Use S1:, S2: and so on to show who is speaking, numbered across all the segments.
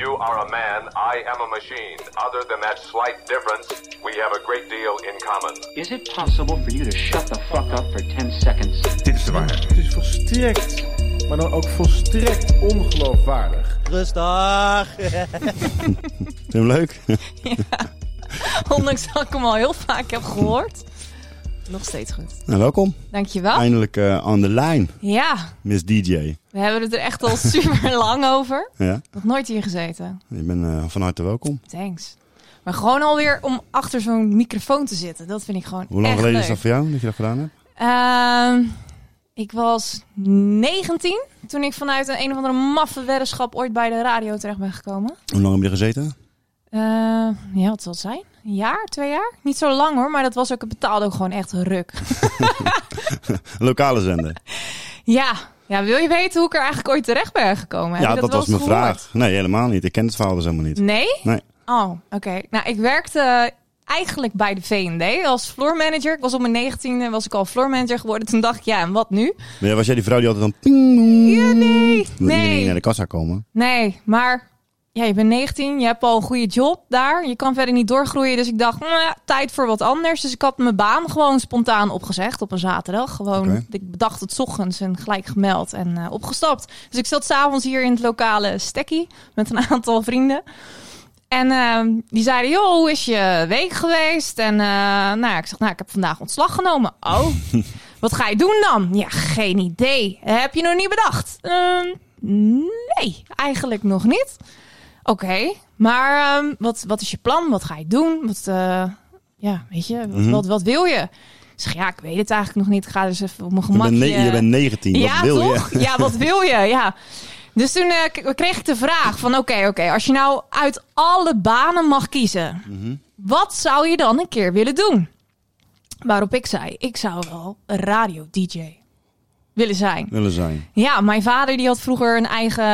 S1: you are a man, I am a machine. Other than that slight difference, we have a great deal in common.
S2: Is it possible for you to shut the fuck up for 10 seconds?
S3: Dit is de waarheid.
S4: Het is volstrekt, maar dan ook volstrekt ongeloofwaardig.
S5: Rustig.
S6: Vind je hem leuk?
S7: Ondanks dat ik hem al heel vaak heb gehoord. Nog steeds goed.
S6: Nou, welkom.
S7: Dankjewel.
S6: Eindelijk eh aan de lijn,
S7: Ja,
S6: Miss DJ.
S7: we hebben het er echt al super lang over.
S6: Ja,
S7: Nog nooit hier gezeten.
S6: je bent eh, van harte welkom.
S7: Thanks. Maar gewoon alweer om achter zo'n microfoon te zitten. Dat vind ik gewoon
S6: Hoe lang
S7: echt
S6: geleden
S7: leuk.
S6: is dat voor jou dat je dat gedaan hebt?
S7: Ehm, ik was 19 toen ik vanuit een, een of andere maffe weddenschap ooit bij de radio terecht ben gekomen.
S6: Hoe lang heb je er gezeten?
S7: Eh, ja, wat zal het zijn? Een jaar, twee jaar? Niet zo lang hoor, maar dat was ook, het betaalde ook gewoon echt ruk.
S6: Lokale zender.
S7: Ja. ja, wil je weten hoe ik er eigenlijk ooit terecht ben gekomen? Heb
S6: ja,
S7: je
S6: dat, was
S7: wel
S6: mijn
S7: eens gehoord?
S6: vraag. Nee, helemaal niet. Ik ken het verhaal dus helemaal niet.
S7: Nee?
S6: Nee.
S7: Oh, oké. Nou, ik werkte eigenlijk bij de V&D als floormanager. Ik was op mijn 19e was ik al floormanager geworden. Toen dacht ik, ja, en wat nu?
S6: Maar ja, Was jij die vrouw die altijd dan ping doeng,
S7: Ja, nee.
S6: wil iedereen naar
S7: Nee,
S6: de kassa komen?
S7: nee, maar ja, je bent 19, je hebt al een goede job daar. Je kan verder niet doorgroeien, dus ik dacht, "Mwah, tijd voor wat anders. Dus ik had mijn baan gewoon spontaan opgezegd op een zaterdag. Gewoon,
S6: Oké.
S7: ik bedacht het 's ochtends en gelijk gemeld en eh, opgestapt. Dus ik zat s'avonds hier in het lokale stekkie met een aantal vrienden. En ehm, die zeiden, joh, hoe is je week geweest? En eh, nou, ja, ik zeg, nou, ik heb vandaag ontslag genomen. Oh, wat ga je doen dan? Ja, geen idee. Heb je nog niet bedacht? Ehm, nee, eigenlijk nog niet. Oké, maar ehm, wat, wat is je plan? Wat ga je doen? Wat, eh, ja, weet je, wat,
S6: Mhm.
S7: wat, wat wil je? Ik zeg, ja, ik weet het eigenlijk nog niet. Ik ga dus even op mijn
S6: Je
S7: gemak.
S6: bent, ne- je bent 19, wat
S7: ja,
S6: wil
S7: toch?
S6: je?
S7: Ja, wat wil je? Ja. Dus toen eh, k- kreeg ik de vraag van oké, oké, als je nou uit alle banen mag kiezen,
S6: Mhm.
S7: wat zou je dan een keer willen doen? Waarop ik zei, ik zou wel een radio-dj willen zijn.
S6: Willen zijn.
S7: Ja, mijn vader die had vroeger een eigen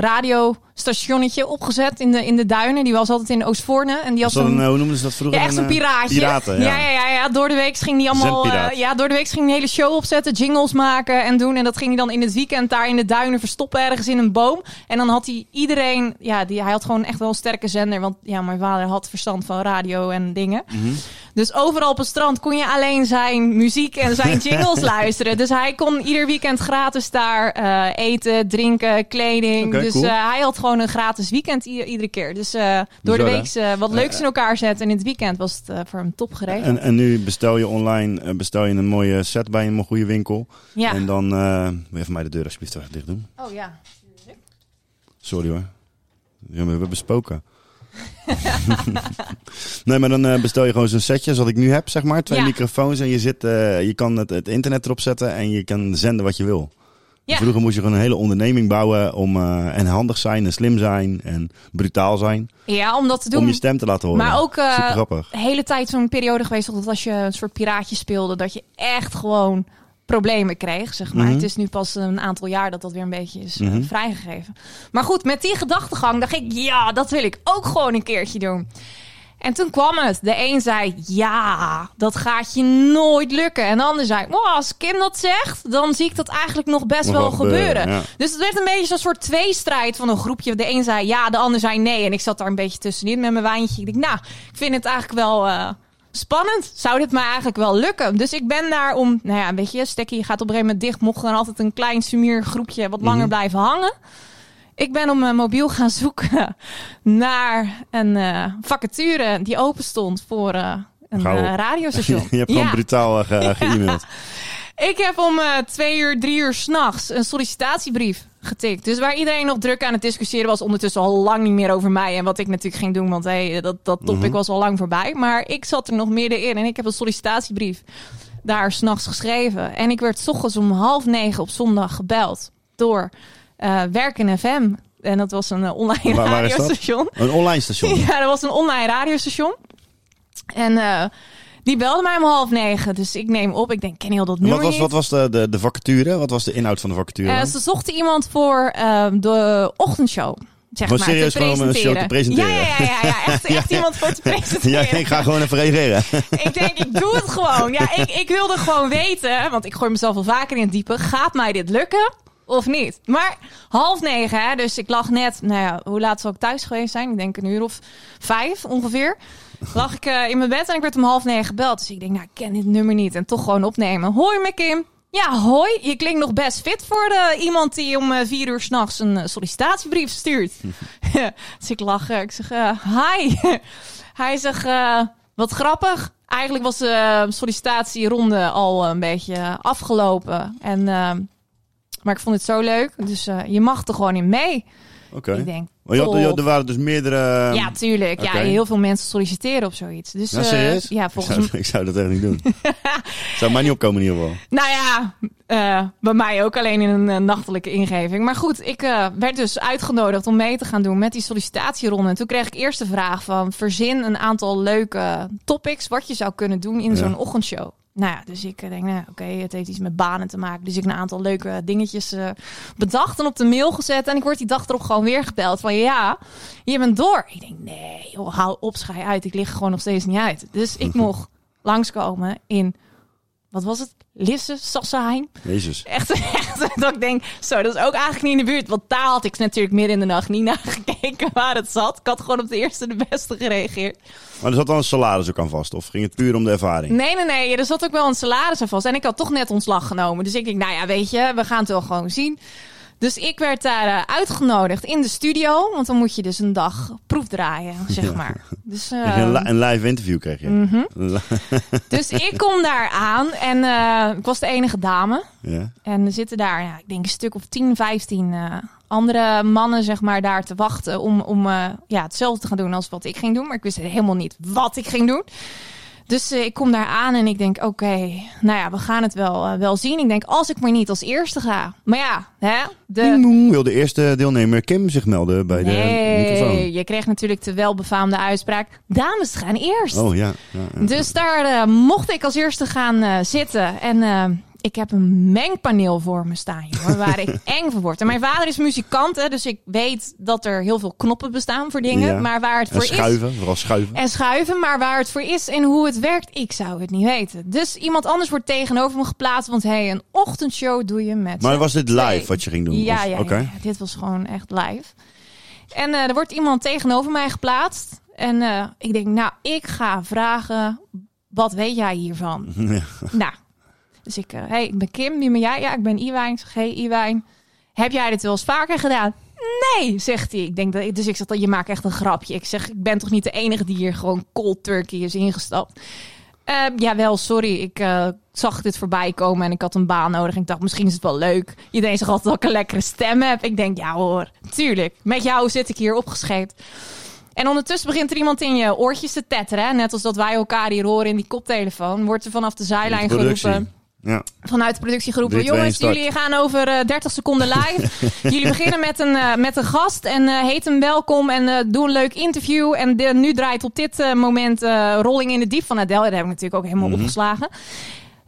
S7: radiostationnetje opgezet in de, in de duinen. Die was altijd in Oostvoorne. En die had
S6: Was dat
S7: zo'n-
S6: een, eh, hoe noemden ze dat vroeger?
S7: ja, echt een
S6: eh,
S7: piraatje.
S6: Piraten, ja.
S7: ja, ja, ja, ja. Door de week ging die allemaal.
S6: Zendpiraat.
S7: eh, ja, door de week ging die hele show opzetten, jingles maken en doen. En dat ging hij dan in het weekend daar in de duinen verstoppen, ergens in een boom. En dan had hij iedereen. Ja, die, hij had gewoon echt wel een sterke zender. Want ja, mijn vader had verstand van radio en dingen.
S6: Mhm.
S7: Dus overal op het strand kon je alleen zijn muziek en zijn jingles luisteren. Dus hij kon ieder weekend gratis daar eh, eten, drinken, kleding.
S6: Oké,
S7: dus
S6: cool.
S7: eh, hij had gewoon een gratis weekend i- iedere keer. Dus eh, door de
S6: Bizar, hè?
S7: week eh, wat leuks in elkaar zetten. En in het weekend was het eh, voor hem top geregeld.
S6: En, en nu bestel je online eh, bestel je een mooie set bij een goede winkel.
S7: ja.
S6: En dan... eh, Wil je even mij de deur alsjeblieft even dicht doen?
S7: oh ja.
S6: Sorry hoor. Ja, maar we hebben bespoken. nee, maar dan eh, bestel je gewoon zo'n setje zoals ik nu heb, zeg maar. Twee
S7: Ja.
S6: microfoons en je, zit, eh, je kan het, het internet erop zetten en je kan zenden wat je wil.
S7: Ja.
S6: Vroeger moest je gewoon een hele onderneming bouwen om eh, en handig zijn en slim zijn en brutaal zijn.
S7: ja, om dat te doen.
S6: Om je stem te laten horen.
S7: Maar ook, eh,
S6: Super grappig.
S7: de hele tijd zo'n periode geweest dat als je een soort piraatje speelde, dat je echt gewoon problemen kreeg, zeg maar.
S6: Mhm.
S7: Het is nu pas een aantal jaar dat dat weer een beetje is eh,
S6: Mhm.
S7: vrijgegeven. Maar goed, met die gedachtegang dacht ik, ja, dat wil ik ook gewoon een keertje doen. En toen kwam het. De een zei, ja, dat gaat je nooit lukken. En de ander zei, wow, als Kim dat zegt, dan zie ik dat eigenlijk nog best
S6: Nog
S7: wel
S6: wel gebeuren,
S7: gebeuren.
S6: ja.
S7: Dus het werd een beetje zo'n soort tweestrijd van een groepje. De een zei ja, de ander zei nee. En ik zat daar een beetje tussenin met mijn wijntje. Ik dacht, nou, ik vind het eigenlijk wel eh, spannend. Zou dit mij eigenlijk wel lukken? Dus ik ben daar om, nou ja, weet je, Stekkie gaat op een gegeven moment dicht. Mocht dan altijd een klein sumier groepje wat
S6: Mhm.
S7: langer blijven hangen. Ik ben op mijn mobiel gaan zoeken naar een eh, vacature die open stond voor eh, een
S6: Gauw.
S7: eh, radiostation.
S6: Je hebt gewoon
S7: Ja.
S6: brutaal eh, ge- ge-e-maild.
S7: Ik heb om eh, twee uur, drie uur s'nachts een sollicitatiebrief getikt. Dus waar iedereen nog druk aan het discussiëren was, ondertussen al lang niet meer over mij en wat ik natuurlijk ging doen. Want hey, eh, dat, dat topic
S6: Mhm.
S7: was al lang voorbij. Maar ik zat er nog middenin en ik heb een sollicitatiebrief daar s'nachts geschreven. En ik werd 's ochtends om half negen op zondag gebeld door eh Werken FM. En dat was een eh, online
S6: Waar- waar is dat?
S7: radiostation.
S6: Een online station.
S7: Ja, dat was een online radiostation. En eh, die belde mij om half negen. Dus ik neem op. Ik denk, ik ken heel dat
S6: En
S7: nummer
S6: Wat was,
S7: niet.
S6: wat was de, de, de vacature? Wat was de inhoud van de vacature?
S7: Eh, ze zochten iemand voor ehm, de ochtendshow. Zeg
S6: Maar
S7: maar,
S6: serieus
S7: te
S6: gewoon om een
S7: presenteren.
S6: show te presenteren?
S7: Ja, ja, ja, ja, ja. Echt, echt iemand voor te
S6: ja,
S7: presenteren.
S6: ik ga gewoon even reageren.
S7: ik denk, ik doe het gewoon. Ja, ik, ik wilde gewoon weten, want ik gooi mezelf al vaker in het diepe. Gaat mij dit lukken? of niet. Maar half negen, hè, dus ik lag net, nou ja, hoe laat zal ik thuis geweest zijn? Ik denk een uur of vijf ongeveer. Lag ik eh, in mijn bed en ik werd om half negen gebeld. Dus ik denk, nou, ik ken dit nummer niet. En toch gewoon opnemen. Hoi, met Kim. Ja, hoi. Je klinkt nog best fit voor eh, iemand die om eh, vier uur s'nachts een eh, sollicitatiebrief stuurt. dus ik lach. eh, ik zeg, eh, hi. Hij zegt, eh, wat grappig. Eigenlijk was de eh, sollicitatieronde al eh, een beetje afgelopen. En, eh, maar ik vond het zo leuk. Dus eh, je mag er gewoon in mee.
S6: Oké.
S7: Ik denk,
S6: Maar je had- je had-
S7: top.
S6: er waren dus meerdere...
S7: Ja, tuurlijk.
S6: oké.
S7: Ja, heel veel mensen solliciteren op zoiets. Dus,
S6: Ja,
S7: eh,
S6: serieus?
S7: ja, volgens
S6: ik, zou, ik zou dat echt niet doen. zou mij niet opkomen in ieder geval.
S7: Nou ja, eh, bij mij ook alleen in een eh, nachtelijke ingeving. Maar goed, ik eh, werd dus uitgenodigd om mee te gaan doen met die sollicitatieronde. En toen kreeg ik eerst de vraag van verzin een aantal leuke eh, topics wat je zou kunnen doen in
S6: Ja.
S7: zo'n ochtendshow. Nou ja, dus ik eh, denk, nou, oké, het heeft iets met banen te maken. Dus ik een aantal leuke dingetjes eh, bedacht en op de mail gezet. En ik word die dag erop gewoon weer gebeld van ja, je bent door. Ik denk, nee, joh, hou op, schij uit. Ik lig er gewoon nog steeds niet uit. Dus ik mocht langskomen in, wat was het? Lisse, Sassenheim.
S6: Jezus.
S7: Echt, echt dat ik denk, zo, dat is ook eigenlijk niet in de buurt. Want daar had ik natuurlijk midden in de nacht niet naar gekeken waar het zat. Ik had gewoon op de eerste de beste gereageerd.
S6: Maar er zat dan een salaris ook aan vast? Of ging het puur om de ervaring?
S7: Nee, nee, nee. Er zat ook wel een salaris aan vast. En ik had toch net ontslag genomen. Dus ik denk, nou ja, weet je, we gaan het wel gewoon zien. Dus ik werd daar eh, uitgenodigd in de studio. Want dan moet je dus een dag proefdraaien, zeg maar. Dus, eh,
S6: Een, li- een live interview kreeg je.
S7: Mhm.
S6: Li-
S7: dus ik kom daar aan. En eh, ik was de enige dame.
S6: ja.
S7: En er zitten daar, ja, ik denk een stuk of 10, 15 eh, andere mannen, zeg maar, daar te wachten om, om eh, ja, hetzelfde te gaan doen als wat ik ging doen. Maar ik wist helemaal niet wat ik ging doen. Dus eh, ik kom daar aan en ik denk, oké, nou ja, we gaan het wel, eh, wel zien. Ik denk, als ik maar niet als eerste ga. Maar ja, hè, de...
S6: Ding dong, wil de eerste deelnemer Kim zich melden bij de microfoon.
S7: Nee, je kreeg natuurlijk de welbefaamde uitspraak, dames gaan eerst.
S6: Oh ja. ja, ja.
S7: Dus daar eh, mocht ik als eerste gaan eh, zitten. En eh, ik heb een mengpaneel voor me staan, jongen, waar ik eng voor word. En mijn vader is muzikant, hè, dus ik weet dat er heel veel knoppen bestaan voor dingen.
S6: Ja.
S7: Maar waar het
S6: En
S7: voor is...
S6: schuiven, vooral schuiven.
S7: En schuiven, maar waar het voor is en hoe het werkt, ik zou het niet weten. Dus iemand anders wordt tegenover me geplaatst, want hey, een ochtendshow doe je met...
S6: Maar
S7: z'n
S6: was dit
S7: tweeën.
S6: live wat je ging doen?
S7: Ja,
S6: Of-
S7: ja,
S6: oké.
S7: ja, ja. dit was gewoon echt live. En eh, er wordt iemand tegenover mij geplaatst. En eh, ik denk, nou, ik ga vragen, wat weet jij hiervan? Nou, dus ik, eh, hey, ik ben Kim, wie ben jij? Ja, ik ben Iwijn. Ik zeg, hey Iwijn, heb jij dit wel eens vaker gedaan? Nee, zegt hij. Ik denk dat, dus ik zeg, dat je maakt echt een grapje. Ik zeg, ik ben toch niet de enige die hier gewoon cold turkey is ingestapt? Eh, jawel, sorry. Ik eh, zag dit voorbij komen en ik had een baan nodig. En ik dacht, misschien is het wel leuk. Iedereen zegt altijd dat ik een lekkere stem heb. Ik denk, ja hoor, tuurlijk. Met jou zit ik hier opgescheept. En ondertussen begint er iemand in je oortjes te tetteren. hè. Net als dat wij elkaar hier horen in die koptelefoon. Wordt er vanaf de zijlijn
S6: De productie.
S7: geroepen
S6: Ja.
S7: vanuit de productiegroep.
S6: Drie, twee,
S7: Jongens,
S6: start.
S7: jullie gaan over eh, 30 seconden live. jullie beginnen met een, eh, met een gast en eh, heet hem welkom en eh, doe een leuk interview. En de- nu draait op dit eh, moment eh, Rolling in the Deep van Adele. Daar heb ik natuurlijk ook
S6: Mhm.
S7: helemaal opgeslagen.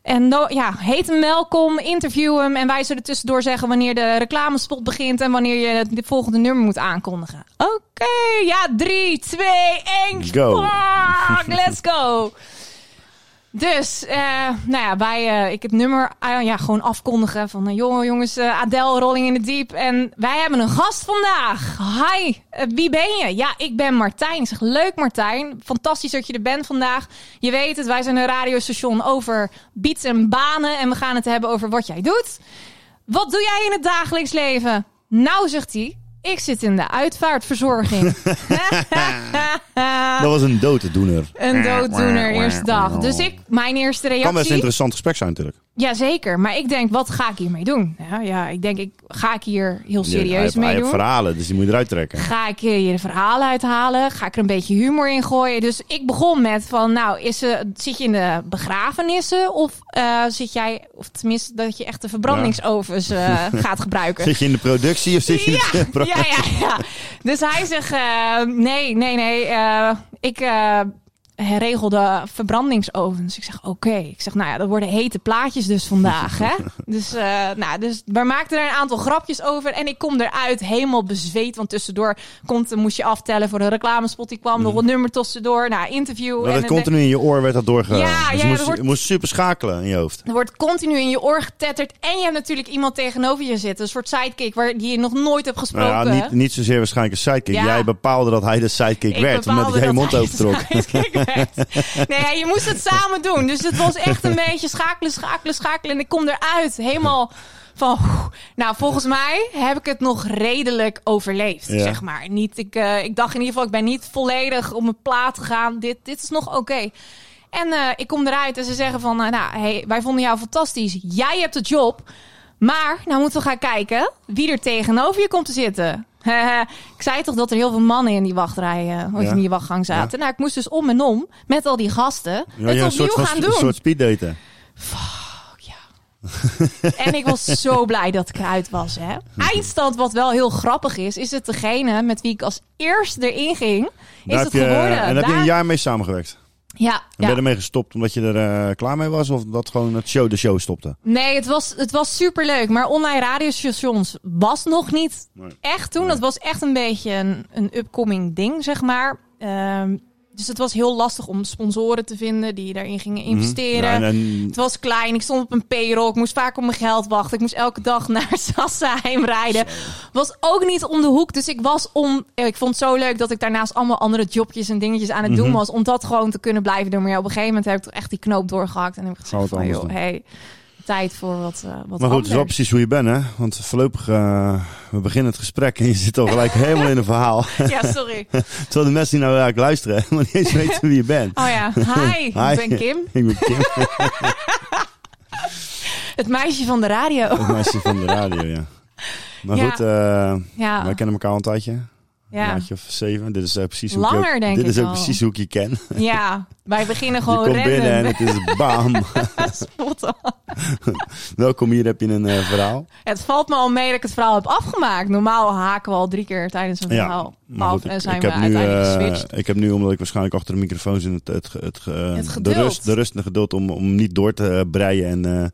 S7: En no- ja, heet hem welkom, interview hem. En wij zullen tussendoor zeggen wanneer de reclamespot begint en wanneer je het het volgende nummer moet aankondigen. Oké, ja, drie, twee, één.
S6: Go.
S7: fuck, let's go. Dus, eh, nou ja, wij, eh, ik het nummer ah, ja, gewoon afkondigen van... eh, jongen, jongens, eh, Adele, Rolling in the Deep. En wij hebben een gast vandaag. Hi, eh, wie ben je? Ja, ik ben Martijn. Ik zeg, leuk Martijn. Fantastisch dat je er bent vandaag. Je weet het, wij zijn een radiostation over beats en banen. En we gaan het hebben over wat jij doet. Wat doe jij in het dagelijks leven? Nou, zegt hij, ik zit in de uitvaartverzorging. Ah.
S6: Dat was een dooddoener.
S7: Een dooddoener eerste dag. Dus ik, mijn eerste reactie...
S6: Kan best een interessant gesprek zijn natuurlijk.
S7: Jazeker, maar ik denk, wat ga ik hiermee doen? Ja, ja ik denk, ik, ga ik hier heel
S6: hij
S7: serieus
S6: heeft, hij
S7: mee
S6: heeft
S7: doen?
S6: verhalen, dus die moet je eruit trekken.
S7: Ga ik hier de verhalen uithalen? Ga ik er een beetje humor in gooien? Dus ik begon met van, nou, is, eh, zit je in de begrafenissen? Of eh, zit jij, of tenminste dat je echt de verbrandingsovens eh, gaat gebruiken?
S6: Zit je in de productie of zit je in
S7: Ja,
S6: de
S7: ja, ja, ja. Dus hij zegt, eh, nee, nee, nee. eh, ik eh, herregelde verbrandingsovens. Ik zeg, oké. Ik zeg, nou ja, dat worden hete plaatjes dus vandaag, hè? Dus, eh, nou, dus we maakten er een aantal grapjes over. En ik kom eruit helemaal bezweet. Want tussendoor komt, moest je aftellen voor een reclamespot. Die kwam nog een nummer tussendoor. Nou, interview.
S6: Maar
S7: en
S6: Mhm. dat
S7: een-
S6: continu in je oor werd dat doorgegaan. dus
S7: Ja, ja,
S6: je moest,
S7: dat wordt-
S6: je moest super schakelen in je hoofd.
S7: Er wordt continu in je oor getetterd. En je hebt natuurlijk iemand tegenover je zitten. Een soort sidekick waar, die je nog nooit hebt gesproken.
S6: Nou ja, niet, niet zozeer waarschijnlijk een sidekick.
S7: Ja.
S6: Jij bepaalde dat hij de sidekick
S7: Ik
S6: werd, omdat
S7: bepaalde
S6: hij je
S7: dat
S6: mond
S7: hij
S6: overtrok.
S7: de sidekick werd. nee, ja, je moest het samen doen. Dus het was echt een beetje schakelen, schakelen, schakelen. En ik kom eruit helemaal van... oeh. Nou, volgens mij heb ik het nog redelijk overleefd,
S6: Ja.
S7: zeg maar. Niet, ik, eh, ik dacht in ieder geval, ik ben niet volledig op mijn plaat gegaan. Dit, dit is nog oké. En eh, ik kom eruit en ze zeggen van... eh, nou, hey, wij vonden jou fantastisch. Jij hebt de job. Maar nou moeten we gaan kijken wie er tegenover je komt te zitten. ik zei toch dat er heel veel mannen in die wachtrij, eh, of
S6: Ja.
S7: in die wachtgang zaten. Nou, ik moest dus om en om met al die gasten
S6: Ja,
S7: het
S6: ja, een
S7: opnieuw
S6: soort, van-
S7: gaan
S6: een
S7: doen.
S6: soort speeddaten.
S7: En ik was zo blij dat ik eruit was. Hè. Eindstand, wat wel heel grappig is, is het degene met wie ik als eerste erin ging, is
S6: Daar
S7: het
S6: heb je, eh,
S7: geworden.
S6: en daar heb je een
S7: Daar-
S6: jaar mee samengewerkt.
S7: Ja,
S6: En ben
S7: ja.
S6: je ermee gestopt omdat je er eh, klaar mee was? Of dat gewoon het show, de show stopte?
S7: Nee, het was, het was superleuk. Maar online radiostations was nog niet
S6: Nee.
S7: echt toen. Dat was echt een beetje een, een upcoming ding, zeg maar. Ehm, dus het was heel lastig om sponsoren te vinden die daarin gingen investeren.
S6: Ja, Nou, en, en-
S7: Het was klein, ik stond op een payroll, ik moest vaak op mijn geld wachten. Ik moest elke dag naar Sassenheim rijden. Was ook niet om de hoek, dus ik was om... eh, Ik vond het zo leuk dat ik daarnaast allemaal andere jobjes en dingetjes aan het doen
S6: Mhm.
S7: was... om dat gewoon te kunnen blijven doen. Maar ja, op een gegeven moment heb ik toch echt die knoop doorgehakt... en heb ik gezegd
S6: het
S7: van,
S6: anders
S7: joh,
S6: doen.
S7: hey, tijd voor wat, eh, wat
S6: maar goed, het is wel
S7: anders.
S6: precies hoe je bent, hè? Want voorlopig, eh, we beginnen het gesprek en je zit al gelijk helemaal in een verhaal.
S7: Ja, sorry.
S6: Terwijl de mensen die nou eigenlijk luisteren helemaal niet eens weten wie je bent.
S7: Oh ja, hi, ik
S6: Hi.
S7: ben Kim,
S6: Ik ben Kim,
S7: het meisje van de radio.
S6: het meisje van de radio, ja. Maar
S7: Ja.
S6: goed, eh,
S7: Ja,
S6: wij kennen elkaar al een tijdje. Een
S7: ja.
S6: jaartje of zeven. Dit is eh, precies hoe ik
S7: Langer,
S6: ook,
S7: denk
S6: Dit
S7: ik
S6: is ook
S7: al. Oh,
S6: precies hoe ik je ken.
S7: ja, wij beginnen
S6: Je
S7: gewoon
S6: komt binnen en
S7: random.
S6: het is bam.
S7: Spot on.
S6: Welkom, hier heb je een eh, verhaal.
S7: Het valt me al mee dat ik het verhaal heb afgemaakt. Normaal haken we al drie keer tijdens een verhaal
S6: maar
S7: af
S6: goed, ik,
S7: Nou, en zijn
S6: ik
S7: we
S6: heb nu,
S7: uiteindelijk
S6: eh,
S7: geswitcht.
S6: ik heb nu, omdat ik waarschijnlijk achter de microfoon zit, het, het, het, ge- eh,
S7: Het
S6: de,
S7: geduld.
S6: rust, de rust en het geduld om, om niet door te eh, breien en eh,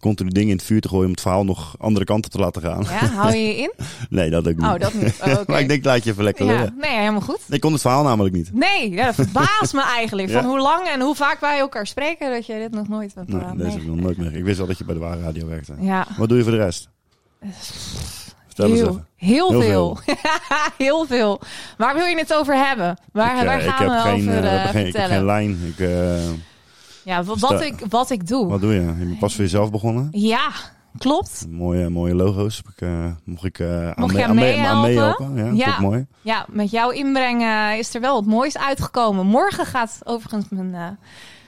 S6: continu dingen in het vuur te gooien om het verhaal nog andere kanten te laten gaan.
S7: Ja, hou je je in?
S6: Nee, dat ook niet.
S7: Oh, dat niet. Oh, oké.
S6: maar ik denk, laat je even lekker
S7: ja,
S6: lullen.
S7: nee, helemaal goed.
S6: Ik kon het verhaal namelijk niet.
S7: Nee, ja, dat verbaast me eigenlijk. Van
S6: Ja.
S7: hoe lang en hoe vaak wij elkaar spreken, dat je dit nog nooit hebt
S6: Nee,
S7: eh,
S6: deze heb ik nog nooit meer. Ik wist wel dat je bij de Ware Radio werkte.
S7: Ja,
S6: Wat doe je voor de rest? Vertel eens
S7: heel,
S6: even.
S7: heel
S6: Heel
S7: veel. heel veel. Waar wil je het over hebben? Waar,
S6: ik, eh,
S7: waar
S6: ik
S7: gaan
S6: heb
S7: we
S6: geen, eh,
S7: over
S6: ik heb geen,
S7: eh,
S6: ik heb geen
S7: vertellen?
S6: lijn. Ik, eh,
S7: Ja, wat,
S6: Sta-
S7: wat, ik, wat ik doe.
S6: wat doe je? Je bent pas voor jezelf begonnen.
S7: Ja, klopt.
S6: Mooie, mooie logo's. Heb ik, eh, mocht ik eh, aan,
S7: Mocht
S6: mee-
S7: jij
S6: aan mee- aan
S7: meehelpen?
S6: meehelpen? Ja,
S7: Ja.
S6: dat is mooi.
S7: Ja, met jouw inbreng eh, is er wel wat moois uitgekomen. Morgen gaat overigens mijn eh,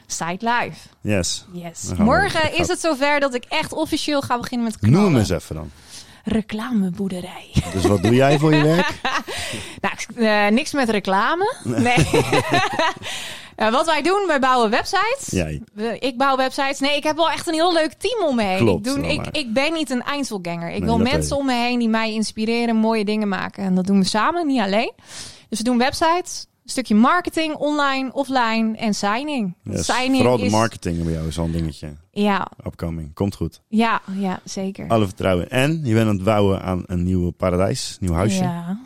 S7: site live.
S6: Yes.
S7: Yes.
S6: Dan gaan we-
S7: Morgen
S6: ik ga-
S7: is het zover dat ik echt officieel ga beginnen met knallen.
S6: Noem hem eens even dan.
S7: Reclameboerderij.
S6: Dus wat doe jij voor je werk?
S7: nou, eh, niks met reclame. Nee. Eh, wat wij doen, wij bouwen websites.
S6: Jij.
S7: We- Ik bouw websites. Nee, ik heb wel echt een heel leuk team om me heen.
S6: Klopt,
S7: ik, doe,
S6: wel
S7: ik,
S6: waar.
S7: ik ben niet een eindselganger. Ik
S6: Nee,
S7: wil
S6: dat
S7: mensen
S6: weet ik.
S7: om me heen die mij inspireren, mooie dingen maken. En dat doen we samen, niet alleen. Dus we doen websites, een stukje marketing, online, offline en signing.
S6: Yes.
S7: Signing
S6: Vooral de
S7: is-
S6: marketing bij jou is al een dingetje.
S7: Ja,
S6: Upcoming. Komt goed.
S7: ja, ja, zeker.
S6: Alle vertrouwen. En je bent aan het bouwen aan een nieuw paradijs. Nieuw huisje.
S7: Ja.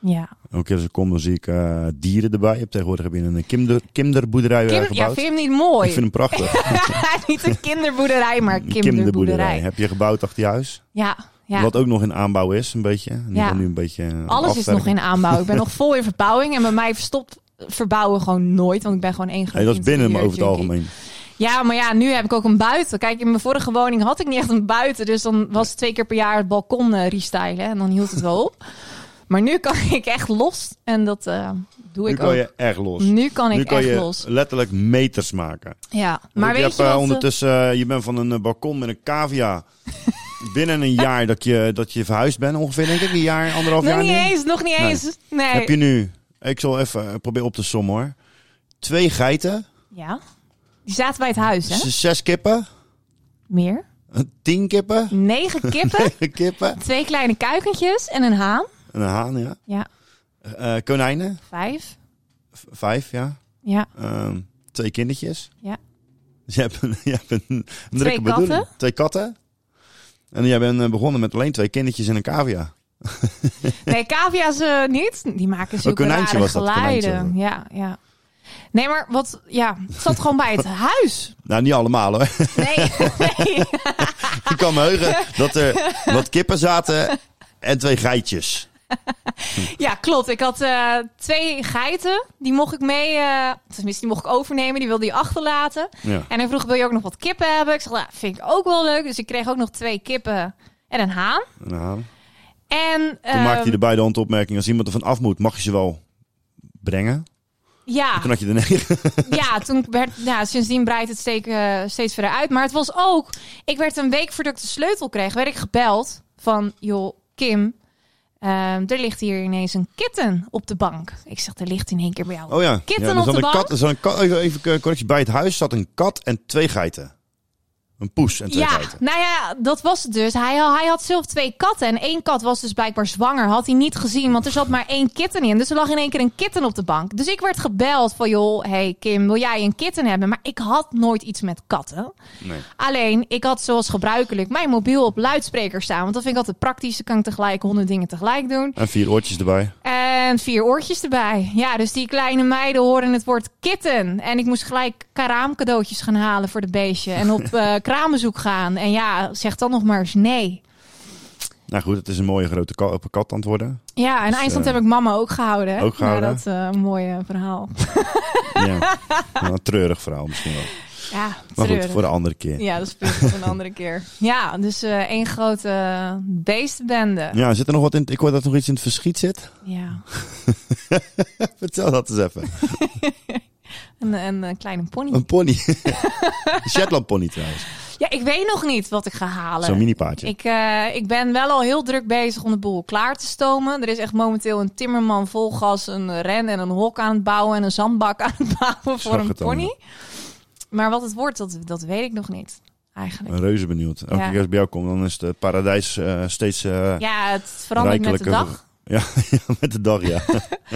S7: ja.
S6: Elke keer als ik kom, dan zie ik eh, dieren erbij. Je hebt tegenwoordig heb je een kinder, kinderboerderij eh,
S7: Kim, ja,
S6: gebouwd.
S7: vind je hem niet mooi?
S6: ik vind hem prachtig.
S7: niet een kinderboerderij, maar
S6: Een kinderboerderij.
S7: kinderboerderij.
S6: Heb je gebouwd achter je huis?
S7: Ja, ja.
S6: Wat ook nog in aanbouw is, een beetje. En die
S7: Ja.
S6: gaan nu een beetje eh,
S7: Alles is
S6: afwerken.
S7: nog in aanbouw. Ik ben nog vol in verbouwing. En bij mij verstopt verbouwen gewoon nooit. Want ik ben gewoon één groot
S6: Nee, dat is binnen, maar over het
S7: interieur-junkie.
S6: algemeen.
S7: Ja, maar ja, nu heb ik ook een buiten. Kijk, in mijn vorige woning had ik niet echt een buiten. Dus dan was het twee keer per jaar het balkon eh, restylen. En dan hield het wel op. Maar nu kan ik echt los. En dat eh, doe
S6: Nu
S7: ik ook.
S6: kan je echt los.
S7: Nu kan ik
S6: nu kan
S7: echt
S6: je
S7: los.
S6: letterlijk meters maken.
S7: Ja, maar
S6: ik
S7: weet
S6: heb,
S7: je
S6: eh,
S7: wat... eh,
S6: ondertussen, eh, je bent van een eh, balkon met een cavia. Binnen een jaar dat je, dat je verhuisd bent, ongeveer denk ik. Een jaar, anderhalf
S7: nog
S6: jaar
S7: niet
S6: nu.
S7: eens, nog niet
S6: Nee.
S7: eens. Nee.
S6: Heb je nu, ik zal even eh, proberen op te sommen hoor. Twee geiten,
S7: Ja. Die zaten bij het huis, hè?
S6: z- zes kippen,
S7: Meer.
S6: tien kippen,
S7: Negen kippen,
S6: kippen,
S7: twee kleine kuikentjes en een haan.
S6: en een haan, ja.
S7: Ja,
S6: Eh, konijnen,
S7: vijf.
S6: v- vijf, ja.
S7: Ja,
S6: Ehm, twee kindertjes.
S7: Ja.
S6: Dus je hebt een, je hebt een, een drukke
S7: katten.
S6: bedoeling. Twee katten. En jij bent eh, begonnen met alleen twee kindertjes en een cavia.
S7: Nee, cavia's eh, niet. Die maken zulke
S6: konijntje
S7: rare
S6: was dat,
S7: geluiden.
S6: konijntje.
S7: Ja, ja. Nee, maar wat, ja, het zat gewoon bij het huis.
S6: Nou, niet allemaal hoor.
S7: Nee, nee.
S6: Ik kan me heugen dat er wat kippen zaten en twee geitjes.
S7: Ja, klopt. Ik had eh, twee geiten. Die mocht ik mee, eh, tenminste, die mocht ik overnemen. Die wilde hij achterlaten.
S6: Ja.
S7: En hij vroeg, wil je ook nog wat kippen hebben? Ik zei, nou, vind ik ook wel leuk. Dus ik kreeg ook nog twee kippen en een haan.
S6: Nou,
S7: En,
S6: toen maakte hij
S7: ehm,
S6: er bij de hand de opmerking, als iemand er van af moet, mag je ze wel brengen.
S7: ja,
S6: Toen had je er negen.
S7: ja, toen werd, ja, sindsdien breidt het steek, eh, steeds verder uit. Maar het was ook, ik werd een week voordat ik de sleutel kreeg, werd ik gebeld van, joh, Kim, ehm, er ligt hier ineens een kitten op de bank. Ik zeg, er ligt in één keer bij jou.
S6: Oh ja.
S7: Kitten
S6: ja, er
S7: op
S6: zat
S7: de
S6: een
S7: bank?
S6: Kat, er zat een kat, even, even eh, correctie. Bij het huis zat een kat en twee geiten. Een poes en twee
S7: Ja,
S6: geiten.
S7: nou ja, dat was het dus. Hij, hij had zelf twee katten. En één kat was dus blijkbaar zwanger. Had hij niet gezien, want er zat maar één kitten in. Dus er lag in één keer een kitten op de bank. Dus ik werd gebeld van, joh, hey Kim, wil jij een kitten hebben? Maar ik had nooit iets met katten.
S6: Nee.
S7: Alleen, ik had zoals gebruikelijk mijn mobiel op luidspreker staan. Want dat vind ik altijd praktisch. Dan kan ik tegelijk honderd dingen tegelijk doen.
S6: En vier oortjes erbij.
S7: En vier oortjes erbij. Ja, dus die kleine meiden horen het woord kitten. En ik moest gelijk kraamcadeautjes gaan halen voor de beestje. En op eh kraambezoek gaan. En ja, zeg dan nog maar eens nee.
S6: Nou goed, het is een mooie grote kat, op een kat aan het worden.
S7: Ja, en eindstand
S6: eh,
S7: heb ik mama ook gehouden. Hè?
S6: ook gehouden.
S7: Na dat eh, mooie verhaal.
S6: Ja. Nou, een treurig verhaal misschien wel.
S7: Ja,
S6: Maar
S7: treurig.
S6: goed, voor de andere keer. Ja.
S7: Ja, dat speelt voor een andere keer. Ja, dus eh één grote beestenbende.
S6: zit er nog wat in? Ik hoor dat er nog iets in het verschiet zit.
S7: Ja.
S6: Vertel dat eens even.
S7: Een, een, eh, kleine pony.
S6: Een pony. Een Shetland pony trouwens.
S7: Ja, ik weet nog niet wat ik ga halen.
S6: Zo'n mini paardje.
S7: ik, eh, ik ben wel al heel druk bezig om de boel klaar te stomen. Er is echt momenteel een timmerman vol gas, een ren en een hok aan het bouwen en een zandbak aan het bouwen voor
S6: zag
S7: een
S6: het al,
S7: pony. Maar wat het wordt, dat, dat weet ik nog niet. Eigenlijk.
S6: ben reuze benieuwd. Elke
S7: Ja.
S6: keer als ik bij jou kom, dan is het eh, paradijs eh, steeds eh
S7: Ja, het verandert met de
S6: rijkelijker.
S7: dag.
S6: Ja, ja, met de dag, ja.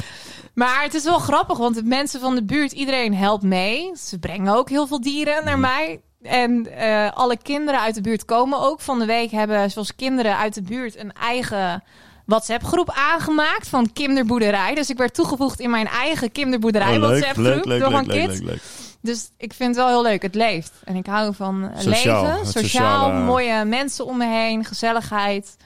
S7: Maar het is wel grappig, want de mensen van de buurt, iedereen helpt mee. Ze brengen ook heel veel dieren
S6: Mm.
S7: naar mij. En eh, alle kinderen uit de buurt komen ook. Van de week hebben, zoals kinderen uit de buurt, een eigen WhatsApp-groep aangemaakt van kinderboerderij. Dus ik werd toegevoegd in mijn eigen kinderboerderij
S6: Oh,
S7: WhatsApp-groep door mijn kind.
S6: leuk.
S7: Dus ik vind het wel heel leuk. Het leeft. En ik hou van eh,
S6: Sociaal,
S7: leven,
S6: het
S7: sociaal,
S6: sociale-
S7: mooie mensen om me heen, gezelligheid.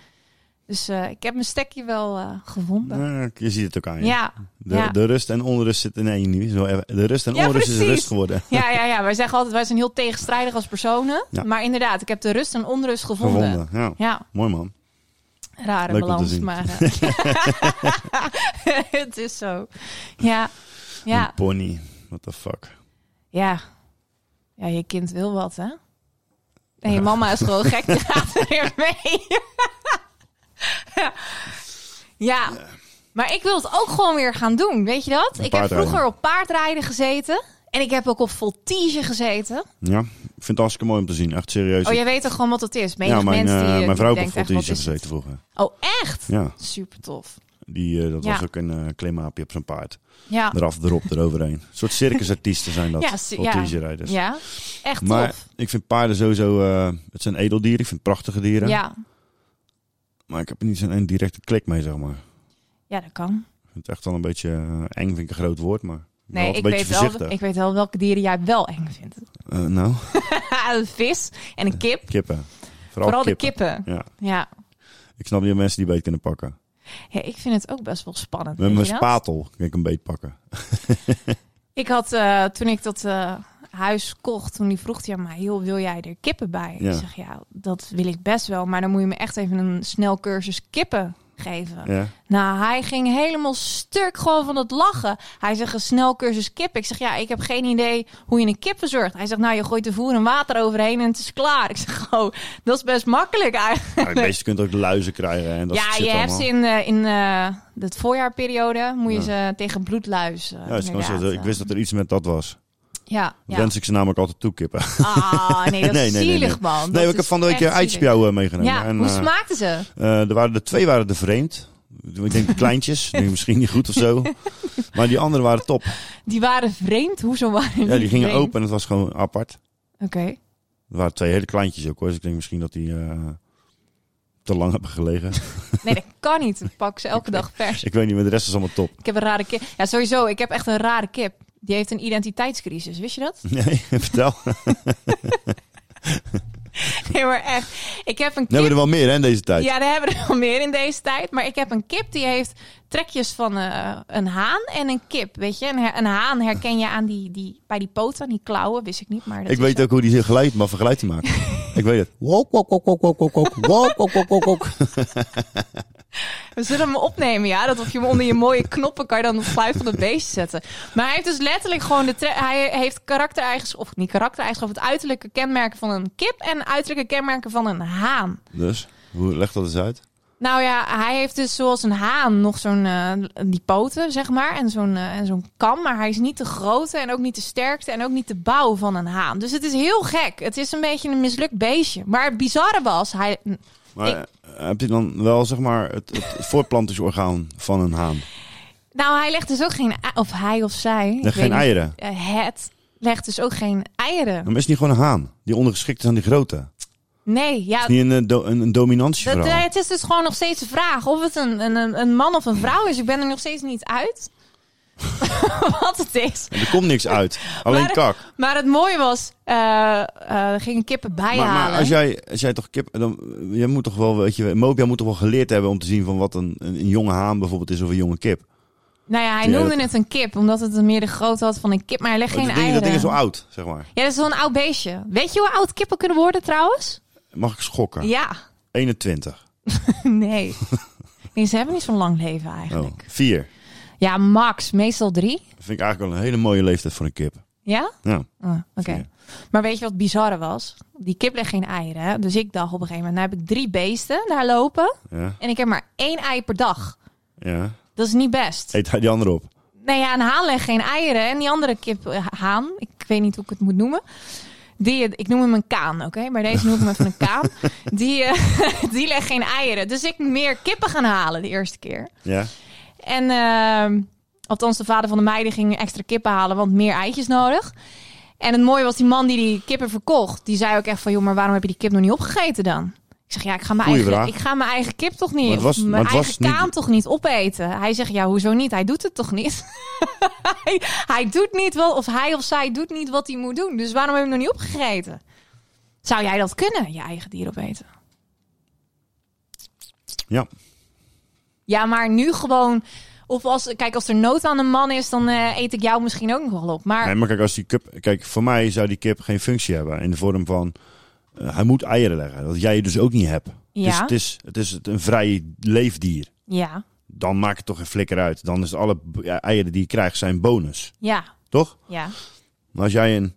S7: Dus eh, ik heb mijn stekje wel eh, gevonden.
S6: Ja, je ziet het ook aan je.
S7: Ja.
S6: De,
S7: ja.
S6: de rust en onrust zitten in één nu. Zo even- De rust en
S7: Ja,
S6: onrust is
S7: precies.
S6: rust geworden.
S7: Ja, ja, ja. Wij zeggen altijd, wij zijn heel tegenstrijdig als personen.
S6: Ja.
S7: Maar inderdaad, ik heb de rust en onrust gevonden.
S6: Gevonden. Ja.
S7: Ja,
S6: Mooi man.
S7: rare
S6: Leuk om te
S7: balans,
S6: zien.
S7: maar eh, het is zo. Ja, ja,
S6: Een pony. What the fuck.
S7: ja. Ja, je kind wil wat, hè? En je mama is gewoon gek, die gaat er weer mee. ja, maar ik wil het ook gewoon weer gaan doen, weet je dat? Ik heb
S6: paardrijden.
S7: vroeger op paardrijden gezeten. En ik heb ook op voltige gezeten.
S6: Ja, ik vind het hartstikke mooi om te zien. Echt serieus.
S7: Oh, jij weet toch gewoon wat het is? Menig
S6: ja, mijn,
S7: mensen die,
S6: eh,
S7: eh,
S6: mijn vrouw
S7: die
S6: heeft
S7: denkt
S6: op
S7: echt,
S6: die
S7: wat is
S6: gezeten vroeger.
S7: het? Oh, echt?
S6: Ja,
S7: Super tof.
S6: die, eh, dat
S7: Ja.
S6: was ook een eh klimapje op zijn paard.
S7: Ja.
S6: Eraf, erop, eroverheen. Een soort circusartiesten zijn dat.
S7: Ja,
S6: Ja,
S7: si- ja.
S6: rijders.
S7: Ja, echt
S6: Maar
S7: tof.
S6: ik vind paarden sowieso... eh, het zijn edeldieren. Ik vind het prachtige dieren.
S7: Ja.
S6: Maar ik heb er niet zo'n directe klik mee, zeg maar.
S7: ja, dat kan.
S6: Ik vind het echt wel een beetje... eh, eng vind ik een groot woord, maar... ik ben
S7: Nee,
S6: altijd
S7: ik
S6: een
S7: weet,
S6: beetje
S7: wel,
S6: voorzichtig.
S7: ik weet wel welke dieren jij wel eng vindt.
S6: Eh, nou,
S7: een vis en een kip.
S6: kippen. Vooral,
S7: Vooral
S6: kippen.
S7: de kippen.
S6: Ja.
S7: Ja.
S6: Ik snap niet dat mensen die beet kunnen pakken.
S7: Ja, ik vind het ook best wel spannend.
S6: Met
S7: weet
S6: mijn
S7: je dat?
S6: spatel kan ik een beet pakken.
S7: Ik had, eh, toen ik dat eh, huis kocht, toen die vroeg hij aan mij, joh, wil jij er kippen bij?
S6: Ja.
S7: Ik zeg, ja, dat wil ik best wel, maar dan moet je me echt even een snel cursus kippen geven.
S6: Ja.
S7: Nou, hij ging helemaal stuk gewoon van het lachen. Hij zegt, een snel cursus kip. Ik zeg, ja, ik heb geen idee hoe je een kip verzorgt. Hij zegt, nou, je gooit de voer en water overheen en het is klaar. Ik zeg, oh, dat is best makkelijk eigenlijk.
S6: Ja, het beest kunt ook luizen krijgen en dat
S7: ja,
S6: soort shit
S7: je hebt
S6: allemaal.
S7: ze in, eh, in eh het voorjaarperiode, moet je ze tegen bloedluis, eh,
S6: Ja, dat is gewoon zo.
S7: inderdaad,
S6: ik
S7: eh,
S6: wist dat er iets met dat was.
S7: ja, ja.
S6: Wens ik ze namelijk altijd toekippen.
S7: Ah, nee, dat is zielig, man.
S6: Nee,
S7: Dat
S6: ik heb
S7: is
S6: van de week
S7: echt
S6: een
S7: zielig.
S6: eitspjouw eh, meegenomen.
S7: Ja,
S6: en,
S7: hoe
S6: eh,
S7: smaakten ze?
S6: eh, er waren, de twee waren te vreemd. Ik denk de kleintjes, ik denk misschien niet goed of zo. Maar die anderen waren top.
S7: Die waren vreemd? Hoezo waren die
S6: Ja, die gingen
S7: vreemd?
S6: open en het was gewoon apart.
S7: Oké.
S6: Er waren twee hele kleintjes ook hoor. Dus ik denk misschien dat die eh, te lang hebben gelegen.
S7: Nee, dat kan niet. Ik pak ze elke dag vers.
S6: ik weet niet, maar de rest is allemaal top.
S7: Ik heb een rare kip. Ja, sowieso. Ik heb echt een rare kip. Die heeft een identiteitscrisis. Wist je dat?
S6: Nee, vertel.
S7: Nee, maar echt. Ik heb een
S6: We
S7: kip.
S6: hebben er wel meer hè, in deze tijd.
S7: Ja, daar hebben we er wel meer in deze tijd. Maar ik heb een kip die heeft trekjes van eh, een haan en een kip. Weet je, een, her- een haan herken je aan die, die, bij die poten, aan die klauwen. Wist ik niet, maar dat
S6: ik
S7: is
S6: weet
S7: zo.
S6: ook hoe die geluid, maar geluid te maken. ik weet het. Wok, wok, wok, wok, wok, wok, wok, wok, wok, wok, wok, wok.
S7: We zullen hem opnemen, ja. Dat of je hem onder je mooie knoppen kan je dan het geluid van het beest zetten. Maar hij heeft dus letterlijk gewoon de... tre- Hij heeft karaktereigenschappen, of niet karaktereigenschappen, het uiterlijke kenmerken van een kip en uiterlijke kenmerken van een haan.
S6: Dus, hoe legt dat eens uit?
S7: Nou ja, hij heeft dus zoals een haan nog zo'n eh, die poten, zeg maar, en zo'n eh, en zo'n kam. Maar hij is niet de grote en ook niet de sterkte en ook niet de bouw van een haan. Dus het is heel gek. Het is een beetje een mislukt beestje. Maar het bizarre was, hij,
S6: Maar
S7: Ik-
S6: eh, heb je dan wel zeg maar het, het voortplantingsorgaan van een haan?
S7: nou, hij legt dus ook geen, ei- of hij of zij, ik
S6: Legt
S7: weet
S6: geen
S7: niet.
S6: eieren.
S7: Eh, het legt dus ook geen eieren.
S6: Dan is het niet gewoon een haan die ondergeschikt is aan die grote. Het
S7: Nee, ja.
S6: is niet een, eh, do- een, een dominantieverhaal.
S7: Dat, eh, het is dus gewoon nog steeds de vraag of het een, een- een, een man of een vrouw is. Ik ben er nog steeds niet uit. Wat het is.
S6: En er komt niks uit. Alleen
S7: Maar-
S6: kak.
S7: Maar het mooie was, eh eh, er gingen kippen bij
S6: Maar,
S7: halen.
S6: maar als, jij, als jij toch kip, dan eh, jij moet toch wel, weet je, Mopia moet toch wel geleerd hebben om te zien van wat een, een, een jonge haan bijvoorbeeld is of een jonge kip.
S7: nou ja,
S6: Ja,
S7: hij noemde
S6: dat- Oh,
S7: het een kip, omdat het een meer de grootte had van een kip, maar hij legt
S6: dat,
S7: geen
S6: ding,
S7: eieren.
S6: dat ding is zo oud, zeg maar.
S7: Ja, dat is wel een oud beestje. Weet je hoe oud kippen kunnen worden trouwens?
S6: Mag ik schokken?
S7: Ja.
S6: 21.
S7: Nee. nee. Ze hebben niet zo'n lang leven
S6: Oh,
S7: eigenlijk.
S6: 4.
S7: Ja, max. Meestal drie.
S6: Dat vind ik eigenlijk wel een hele mooie leeftijd voor een kip.
S7: Ja?
S6: Ja.
S7: Ah, Oké.
S6: Vier.
S7: Maar weet je wat bizarre was? Die kip legt geen eieren. hè? Dus ik dacht op een gegeven moment, nou heb ik drie beesten daar lopen.
S6: Ja.
S7: En ik heb maar één ei per dag.
S6: ja.
S7: Dat is niet best.
S6: Eet hij die andere op?
S7: Nou ja, een haan legt geen eieren. En die andere kip, eh, haan, ik weet niet hoe ik het moet noemen. Die, eh, ik noem hem een kaan, oké? Maar deze noem ik hem even een kaan. Die, eh, die legt geen eieren. Dus ik moet meer kippen gaan halen de eerste keer.
S6: Ja.
S7: En ehm, althans, de vader van de meiden ging extra kippen halen, want meer eitjes nodig. En het mooie was, die man die die kippen verkocht, die zei ook echt van... joh, maar waarom heb je die kip nog niet opgegeten dan? Ik zeg, ja, ik ga mijn,
S6: Goeie
S7: eigen,
S6: vraag.
S7: ik ga mijn eigen kip toch
S6: Maar
S7: niet...
S6: het was-
S7: of
S6: maar
S7: mijn
S6: het
S7: eigen
S6: was niet-
S7: kaan toch niet opeten? Hij zegt, ja, hoezo niet? Hij doet het toch niet? hij, hij doet niet wel, of hij of zij doet niet wat hij moet doen. Dus waarom heb je hem nog niet opgegeten? Zou jij dat kunnen, je eigen dier opeten?
S6: Ja.
S7: Ja, maar nu gewoon... Of als, kijk, als er nood aan een man is, dan eh, eet ik jou misschien ook nog wel op. Maar
S6: Nee, maar kijk, als die kip, kijk, voor mij zou die kip geen functie hebben in de vorm van eh, hij moet eieren leggen. Dat jij dus ook niet hebt. Dus
S7: Ja.
S6: het is, het is het- een vrij leefdier.
S7: ja,
S6: dan maakt het toch een flikker uit. Dan is alle b- ja, eieren die je krijgt zijn bonus,
S7: ja,
S6: toch?
S7: ja.
S6: Maar als jij een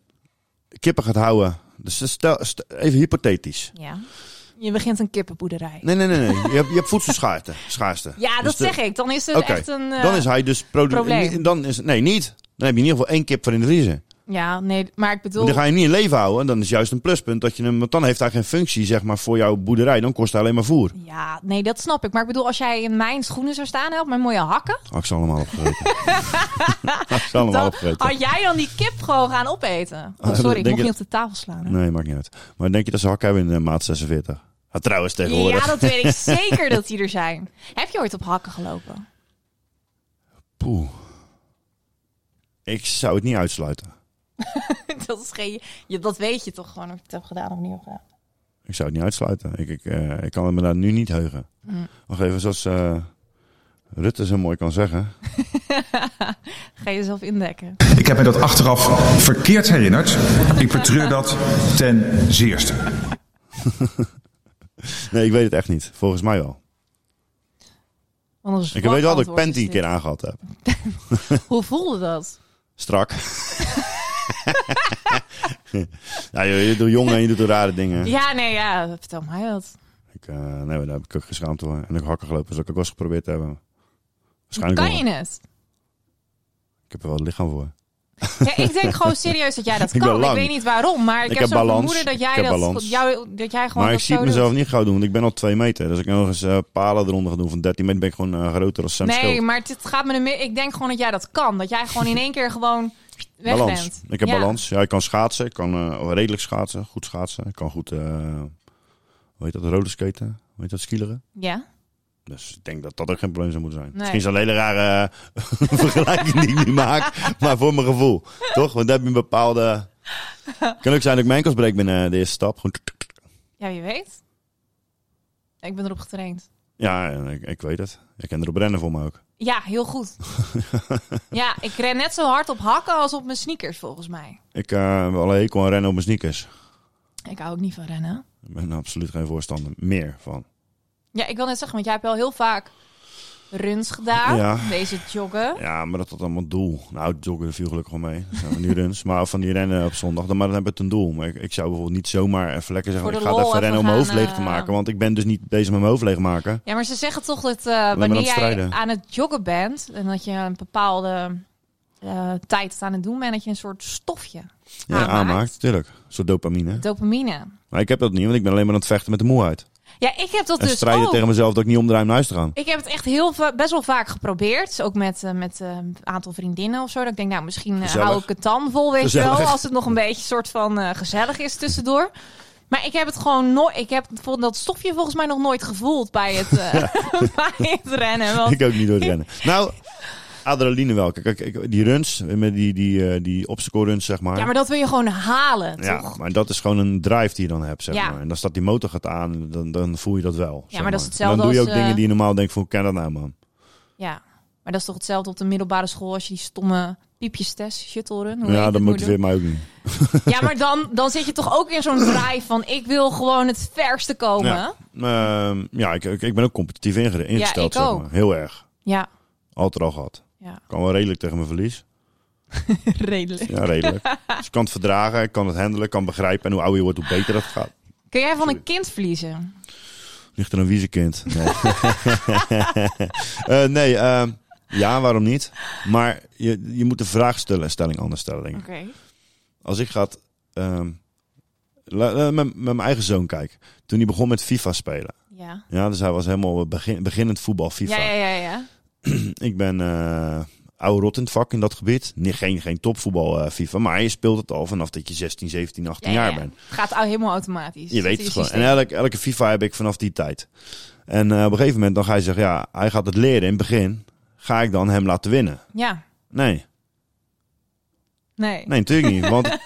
S6: kippen gaat houden, dus stel, stel- even hypothetisch.
S7: Ja. Je begint een kippenboerderij.
S6: Nee, nee, nee, nee. Je hebt, je hebt voedselschaarste. Schaarste.
S7: Ja, dat
S6: Dus de-
S7: zeg ik. Dan is het
S6: Oké,
S7: echt een. eh,
S6: dan is hij dus produ-
S7: probleem.
S6: Dan is nee niet. Dan heb je in ieder geval één kip voor in de vriezer.
S7: Ja, nee, maar ik bedoel.
S6: Want Dan ga je hem niet in leven houden. Dan is juist een pluspunt dat je hem. Want dan heeft hij geen functie zeg maar voor jouw boerderij. Dan kost hij alleen maar voer.
S7: Ja, nee, dat snap ik. Maar ik bedoel, als jij in mijn schoenen zou staan, help mijn mooie hakken.
S6: Had Ah, ik ze allemaal opgegeten. Had ik ze allemaal
S7: Dan
S6: opgegeten.
S7: had jij dan die kip gewoon gaan opeten. Oh,
S6: Ah,
S7: sorry, ik
S6: denk
S7: mocht
S6: je-
S7: niet op de tafel slaan. hè?
S6: Nee, maakt niet uit. Maar denk je dat ze hakken hebben in eh, maat 46? Ah, trouwens, tegenwoordig.
S7: Ja, dat weet ik zeker dat die er zijn. Heb je ooit op hakken gelopen?
S6: Poeh. Ik zou het niet uitsluiten.
S7: dat, is geen, je, dat weet je toch gewoon of je het hebt gedaan of niet hebt gedaan.
S6: Ik zou het niet uitsluiten. Ik, ik, eh, ik kan het me daar nu niet heugen.
S7: Mm.
S6: Nog even, zoals eh, Rutte zo mooi kan zeggen.
S7: Ga je jezelf indekken.
S3: Ik heb me dat achteraf verkeerd herinnerd. Ik betreur dat ten zeerste.
S6: Nee, ik weet het echt niet. Volgens mij wel.
S7: Anders
S6: Ik weet wel dat ik
S7: antwoord is
S6: panty een
S7: dit.
S6: keer aangehad heb.
S7: Hoe voelde dat?
S6: Strak. ja, je, je doet jongen en je doet de rare dingen.
S7: Ja, nee, ja, vertel mij dat.
S6: Ik, eh, nee, maar daar heb ik ook geschaamd voor. En ook hakken gelopen. Dat zou ik ook wel eens geprobeerd hebben. Waarschijnlijk
S7: Kan
S6: wel.
S7: je het?
S6: Ik heb er wel het lichaam voor.
S7: Ja, ik denk gewoon serieus dat jij dat
S6: Ik ben
S7: kan. Ik,
S6: lang.
S7: weet niet waarom, maar ik,
S6: Ik
S7: heb
S6: heb
S7: zo'n
S6: balans.
S7: vermoeden dat jij,
S6: Ik heb
S7: dat,
S6: balans.
S7: jou, dat jij gewoon
S6: Maar ik
S7: dat
S6: zie het
S7: zo doet.
S6: mezelf niet gauw doen, want ik ben al twee meter. Dus als ik nog eens eh, palen eronder ga doen van 13 meter, ben ik gewoon eh, groter als Sam
S7: Nee,
S6: Schild.
S7: maar het- het gaat me er meer. Ik denk gewoon dat jij dat kan. Dat jij gewoon in één keer gewoon weg
S6: balans.
S7: bent.
S6: Ik heb
S7: Ja.
S6: balans. Ja, ik kan schaatsen. Ik kan eh, redelijk schaatsen. Goed schaatsen. Ik kan goed, eh hoe heet dat, roller skaten? Hoe heet dat, skileren?
S7: Ja.
S6: Dus ik denk dat dat ook geen probleem zou moeten zijn.
S7: Nee.
S6: Misschien is dat een hele rare eh, vergelijking die ik nu maak. Maar voor mijn gevoel. Toch? Want daar heb je een bepaalde... Het kan ook zijn dat ik mijn enkels breek binnen de eerste stap. Gewoon... tuk, tuk, tuk.
S7: Ja, wie weet. Ik ben erop getraind.
S6: Ja, en ik, ik weet het. Ik kan erop rennen voor me ook.
S7: Ja, heel goed. ja, ik ren net zo hard op hakken als op mijn sneakers, volgens mij.
S6: Ik eh, heb alle hekel aan rennen op mijn sneakers.
S7: Ik hou ook niet van rennen.
S6: Ik ben er absoluut geen voorstander meer van.
S7: Ja, ik wil net zeggen, want jij hebt wel heel vaak runs gedaan.
S6: Ja.
S7: Deze joggen.
S6: Ja, maar dat had allemaal doel. Nou, joggen viel gelukkig wel mee. Dat zijn Van die runs. Maar van die rennen op zondag, dan, maar dan heb ik het een doel. Maar ik, ik zou bijvoorbeeld niet zomaar even lekker zeggen...
S7: Voor
S6: Ik
S7: de
S6: ga
S7: lol
S6: even rennen om
S7: even
S6: mijn hoofd
S7: gaan,
S6: leeg te
S7: eh,
S6: maken. Want ik ben dus niet bezig met mijn hoofd leegmaken.
S7: Ja, maar ze zeggen toch dat eh,
S6: aan
S7: wanneer
S6: het
S7: jij
S6: strijden.
S7: aan het joggen bent... en dat je een bepaalde eh, tijd aan het doen bent... dat je een soort stofje
S6: Ja,
S7: aanmaakt.
S6: aanmaakt, tuurlijk. Een soort dopamine.
S7: Dopamine.
S6: Maar ik heb dat niet, want ik ben alleen maar aan het vechten met de moeheid.
S7: Ja, ik heb dat
S6: En
S7: dus
S6: strijden
S7: ook.
S6: tegen mezelf dat ik niet omdraai om naar huis te gaan.
S7: Ik heb het echt heel va- best wel vaak geprobeerd. Ook met, eh, met eh, een aantal vriendinnen of zo. Dat ik denk, nou, misschien eh,
S6: Gezellig.
S7: hou ik het dan vol, weet je wel.
S6: Gezellig.
S7: Als het nog een beetje soort van eh, gezellig is tussendoor. Maar ik heb het gewoon nooit. Ik heb vol- dat stofje volgens mij nog nooit gevoeld bij het, eh, bij het rennen. Want,
S6: Ik ook niet door het rennen. Nou, adrenaline wel. Kijk, kijk, kijk, die runs, met die, die, eh die obstacle runs, zeg maar.
S7: ja, maar dat wil je gewoon halen. Toch?
S6: Ja, maar dat is gewoon een drive die je dan hebt, zeg
S7: Ja.
S6: maar. En als dat die motor gaat aan, dan, dan voel je dat wel. zeg
S7: maar dat is
S6: En Dan
S7: hetzelfde
S6: doe je ook
S7: als, eh,
S6: dingen die je normaal denkt van, hoe kan dat nou, man?
S7: Ja. Maar dat is toch hetzelfde op de middelbare school als je die stomme piepjes test, shuttle run. hoe heet
S6: Ja,
S7: het,
S6: dat
S7: moet doen?
S6: motiveert mij ook niet.
S7: Ja, maar dan, dan zit je toch ook in zo'n drive van ik wil gewoon het verste komen.
S6: Ja, Ehm, ja ik, ik, ik ben ook competitief inge- ingesteld,
S7: ik
S6: zeg
S7: ook.
S6: maar. Heel erg.
S7: ja.
S6: Altijd al gehad.
S7: ja.
S6: Ik kan wel redelijk tegen mijn verlies.
S7: Redelijk.
S6: Ja, redelijk. dus ik kan het verdragen, ik kan het handelen, ik kan begrijpen. En hoe ouder je wordt, hoe beter dat gaat.
S7: Kun jij van een kind verliezen?
S6: Ligt er een wiezekind? Nee. Eh, nee ehm, ja, waarom niet? Maar je, je moet de vraagstelling stelling anders stellen, denk ik.
S7: Oké.
S6: Als ik ga ehm, la- eh, met, met mijn eigen zoon kijk. Toen hij begon met FIFA spelen.
S7: Ja.
S6: Ja, dus hij was helemaal begin, beginnend voetbal, FIFA.
S7: Ja, ja, ja, ja.
S6: Ik ben eh oude rot in het vak in dat gebied. Nee, geen, geen topvoetbal eh, FIFA, maar je speelt het al vanaf dat je 16, 17, 18
S7: Ja, ja,
S6: jaar
S7: ja.
S6: bent.
S7: Gaat au- helemaal automatisch.
S6: Je
S7: Zit
S6: weet
S7: in
S6: het gewoon. En
S7: systeem.
S6: elke, elke FIFA heb ik vanaf die tijd. En eh, op een gegeven moment dan ga je zeggen, ja, hij gaat het leren in het begin. Ga ik dan hem laten winnen?
S7: Ja.
S6: Nee,
S7: Nee.
S6: nee, natuurlijk niet. Want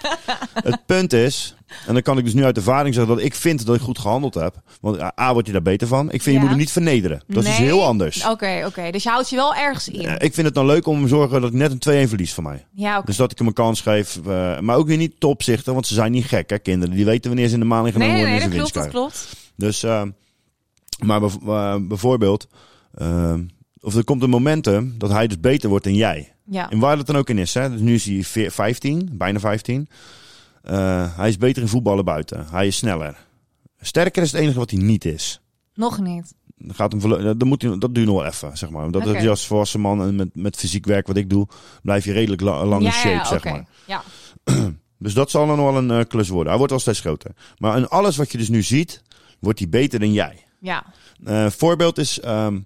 S6: het punt is, en dan kan ik dus nu uit ervaring zeggen dat ik vind dat ik goed gehandeld heb. Want eh, A, word je daar beter van. Ik vind
S7: Ja.
S6: je moet hem niet vernederen. Dat is
S7: Nee?
S6: heel anders.
S7: Oké, oké. Dus je houdt je wel ergens in.
S6: Eh,
S7: Ja,
S6: Ik vind het dan leuk om te zorgen dat ik net een 2-1 verlies van mij.
S7: oké.
S6: Dus dat ik hem een kans geef. eh, maar ook weer niet te opzichtig, want ze zijn niet gek, hè, kinderen. Die weten wanneer ze in de maling genomen
S7: Nee, nee,
S6: worden
S7: nee,
S6: en ze
S7: dat
S6: winst
S7: klopt, dat
S6: krijgen.
S7: klopt.
S6: Dus, eh, maar bev- eh, bijvoorbeeld, eh, of er komt een momentum dat hij dus beter wordt dan jij.
S7: Ja.
S6: En waar dat dan ook in is, hè? Dus nu is hij veer- 15, bijna 15. Eh, hij is beter in voetballen buiten. Hij is sneller. Sterker is het enige wat hij niet is.
S7: Nog niet.
S6: Dan gaat hem verlo- eh, dan moet hij, dat duurt nog wel even, zeg maar. Dat
S7: Oké.
S6: is als volwassen man en met, met fysiek werk wat ik doe, blijf je redelijk la- lang in
S7: ja,
S6: shape,
S7: ja,
S6: zeg
S7: oké.
S6: maar.
S7: Ja.
S6: Dus dat zal dan wel een eh, klus worden. Hij wordt al steeds groter. Maar in alles wat je dus nu ziet, wordt hij beter dan jij.
S7: Ja.
S6: Eh, voorbeeld is, ehm,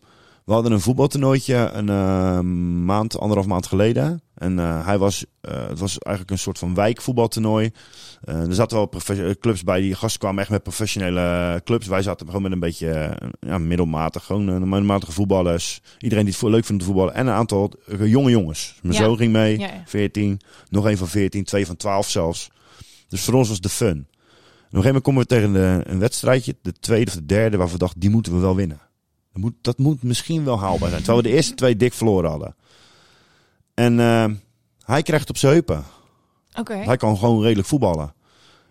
S6: we hadden een voetbaltoernooitje een eh, maand, anderhalf maand geleden. En eh, hij was, eh, het was eigenlijk een soort van wijkvoetbaltoernooi. Eh, er zaten wel profe- clubs bij, die gasten kwamen echt met professionele eh, clubs. Wij zaten gewoon met een beetje eh, ja, middelmatig, gewoon eh, middelmatige voetballers. Iedereen die het vo- leuk vindt om te voetballen. En een aantal eh, jonge jongens. Mijn
S7: Ja.
S6: zoon ging mee,
S7: Ja, ja.
S6: 14, nog een van 14, twee van 12 zelfs. Dus voor ons was de fun. En op een gegeven moment komen we tegen de- een wedstrijdje, de tweede of de derde, waar we dachten, die moeten we wel winnen. Dat moet, dat moet misschien wel haalbaar zijn. Terwijl we de eerste twee dik verloren hadden. En eh, hij krijgt op zijn heupen.
S7: Oké.
S6: Hij kan gewoon redelijk voetballen.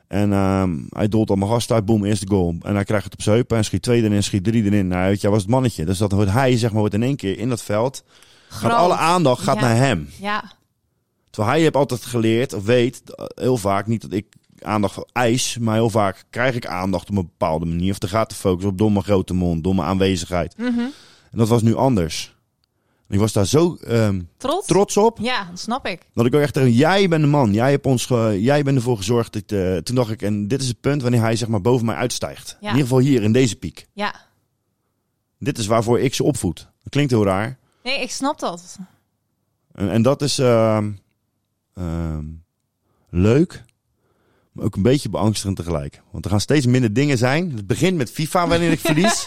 S6: En ehm, hij doelt al mijn gast uit, boom, eerste goal. En hij krijgt het op zijn heupen en schiet twee erin, schiet drie erin. Nou, weet je, hij was het mannetje. Dus dat wordt hij, zeg maar, wordt in één keer in dat veld. Gaat
S7: Groot.
S6: alle aandacht gaat
S7: Ja.
S6: naar hem.
S7: Ja.
S6: Terwijl hij heeft altijd geleerd, of weet, eh, heel vaak, niet dat ik aandacht eis, maar heel vaak krijg ik aandacht op een bepaalde manier. Of er gaat de focus op domme grote mond, domme aanwezigheid. En dat was nu anders. Ik was daar zo ehm,
S7: Trots?
S6: trots op.
S7: Ja, dat snap ik.
S6: Dat ik ook echt tegen jij bent de man. Jij hebt ons ge- jij bent ervoor gezorgd. Dat, eh, toen dacht ik, en dit is het punt wanneer hij zeg maar boven mij uitstijgt. In ieder geval hier in deze piek.
S7: Ja.
S6: Dit is waarvoor ik ze opvoed. Dat klinkt heel raar.
S7: Nee, ik snap dat.
S6: En, en dat is ehm, ehm, leuk, maar ook een beetje beangstigend tegelijk. Want er gaan steeds minder dingen zijn. Het begint met FIFA wanneer ik verlies.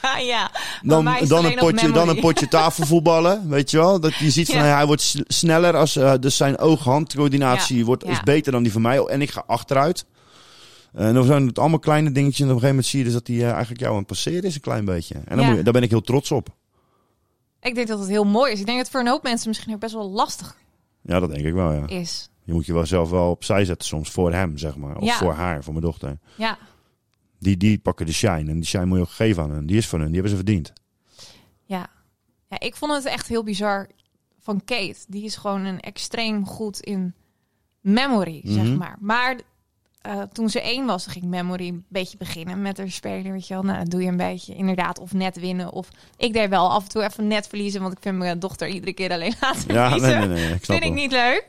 S7: Ah, ja.
S6: Dan,
S7: Maar wij is
S6: dan,
S7: alleen
S6: een
S7: nog
S6: potje, dan een
S7: memory.
S6: potje tafelvoetballen, weet je wel. Dat je ziet van
S7: Ja.
S6: hey, hij wordt s- sneller, als, eh, dus zijn oog-handcoördinatie
S7: Ja,
S6: wordt is
S7: ja.
S6: beter dan die van mij. En ik ga achteruit. En dan zijn het allemaal kleine dingetjes. En op een gegeven moment zie je dus dat hij eh, eigenlijk jou aan het passeren is een klein beetje. En dan
S7: Ja.
S6: moet je, daar ben ik heel trots op.
S7: Ik denk dat het heel mooi is. Ik denk dat het voor een hoop mensen misschien ook best wel lastig
S6: Ja, dat denk ik wel, ja.
S7: is.
S6: Je moet je wel zelf wel opzij zetten soms voor hem, zeg maar. Of
S7: Ja.
S6: voor haar, voor mijn dochter.
S7: Ja.
S6: Die, die pakken de shine. En die shine moet je ook geven aan hen. Die is van hun. Die hebben ze verdiend.
S7: Ja. ja, ik vond het echt heel bizar van Kate. Die is gewoon een extreem goed in memory,
S6: Mhm.
S7: zeg maar. Maar eh, toen ze één was, ging memory een beetje beginnen met haar spelen. Weet je wel, nou, dat doe je een beetje inderdaad of net winnen. Of ik deed wel af en toe even net verliezen, want ik vind mijn dochter iedere keer alleen laten
S6: Ja, nee,
S7: verliezen.
S6: nee, nee, ik snap
S7: vind ik
S6: wel.
S7: niet leuk.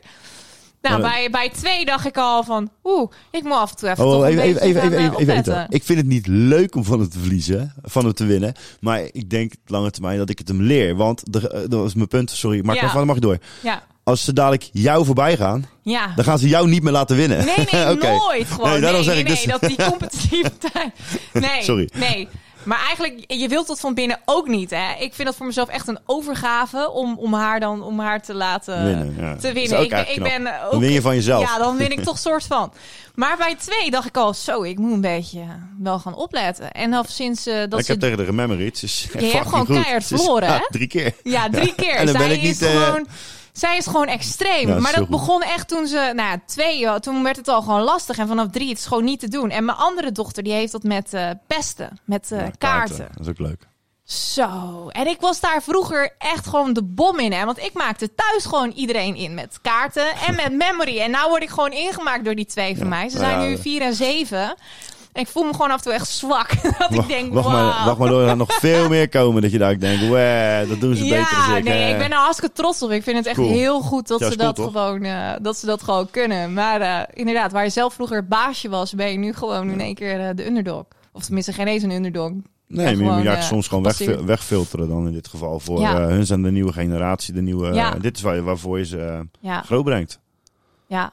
S7: Nou,
S6: Maar-
S7: bij, bij twee dacht ik al van, oeh, ik moet af en toe even toch
S6: Oh,
S7: een
S6: even, even,
S7: beetje
S6: even,
S7: gaan,
S6: even,
S7: eh,
S6: even, even
S7: opletten.
S6: weten. Ik vind het niet leuk om van het te verliezen, van het te winnen. Maar ik denk lange termijn dat ik het hem leer. Want de, eh, dat is mijn punt. Sorry, maar
S7: Ja.
S6: ja. mag ik door.
S7: Ja,
S6: Als ze dadelijk jou voorbij gaan,
S7: ja.
S6: dan gaan ze jou niet meer laten winnen.
S7: Nee, nee,
S6: Oké.
S7: nooit gewoon. Nee,
S6: daarom
S7: nee,
S6: zeg
S7: nee,
S6: ik dus-
S7: dat die competitiviteit. Nee,
S6: Sorry.
S7: nee. Maar eigenlijk, je wilt dat van binnen ook niet. Hè? Ik vind dat voor mezelf echt een overgave om, om haar dan om haar te laten
S6: Winnen, ja.
S7: te
S6: Dat is ook
S7: winnen. Ik, ben- ik
S6: eigenlijk knap.
S7: ben eh, ook,
S6: Dan win je van jezelf.
S7: Ja, dan win ik toch soort van. Maar bij twee dacht ik al, zo, ik moet een beetje wel gaan opletten. En al sinds eh, dat
S6: ik
S7: ze
S6: heb tegen de gememoried. Dus
S7: hebt gewoon keihard verloren, hè?
S6: drie keer.
S7: ja, drie keer.
S6: En dan
S7: zij,
S6: ben ik
S7: is
S6: niet, eh,
S7: gewoon, zij is gewoon extreem.
S6: Ja, dat is
S7: maar dat
S6: heel goed.
S7: begon echt toen ze, nou ja, twee, joh, toen werd het al gewoon lastig. En vanaf drie, het is gewoon niet te doen. En mijn andere dochter, die heeft dat met eh, pesten, met eh,
S6: Ja,
S7: kaarten.
S6: Dat is ook leuk.
S7: Zo. En ik was daar vroeger echt gewoon de bom in, hè. Want ik maakte thuis gewoon iedereen in met kaarten en met memory. En nou word ik gewoon ingemaakt door die twee van
S6: Ja.
S7: mij. Ze
S6: Nou
S7: zijn
S6: ja,
S7: nu
S6: we-
S7: vier en zeven. En ik voel me gewoon af en toe echt zwak. Dat ik denk,
S6: wacht, maar,
S7: wauw.
S6: wacht maar door, er gaan nog veel meer komen. Dat je daar ook denkt, "Wah, dat doen ze beter dan ik.
S7: nee,
S6: hè."
S7: ik ben er hartstikke trots op. Ik vind het echt
S6: Cool.
S7: heel goed dat,
S6: Ja, is
S7: ze
S6: cool,
S7: dat
S6: toch?
S7: gewoon, eh, dat ze dat gewoon kunnen. Maar eh, inderdaad, waar je zelf vroeger het baasje was, ben je nu gewoon in één keer eh, de underdog. Of tenminste, geen eens een underdog.
S6: Nee, maar
S7: Ja,
S6: je moet
S7: gewoon,
S6: eigenlijk
S7: eh,
S6: soms gewoon
S7: gepasseerd.
S6: wegfil- wegfilteren dan in dit geval. Voor
S7: Ja.
S6: eh, hun zijn de nieuwe generatie, de nieuwe...
S7: Ja.
S6: eh, dit is waar, waarvoor je ze eh,
S7: Ja,
S6: groot brengt. Dat
S7: ja.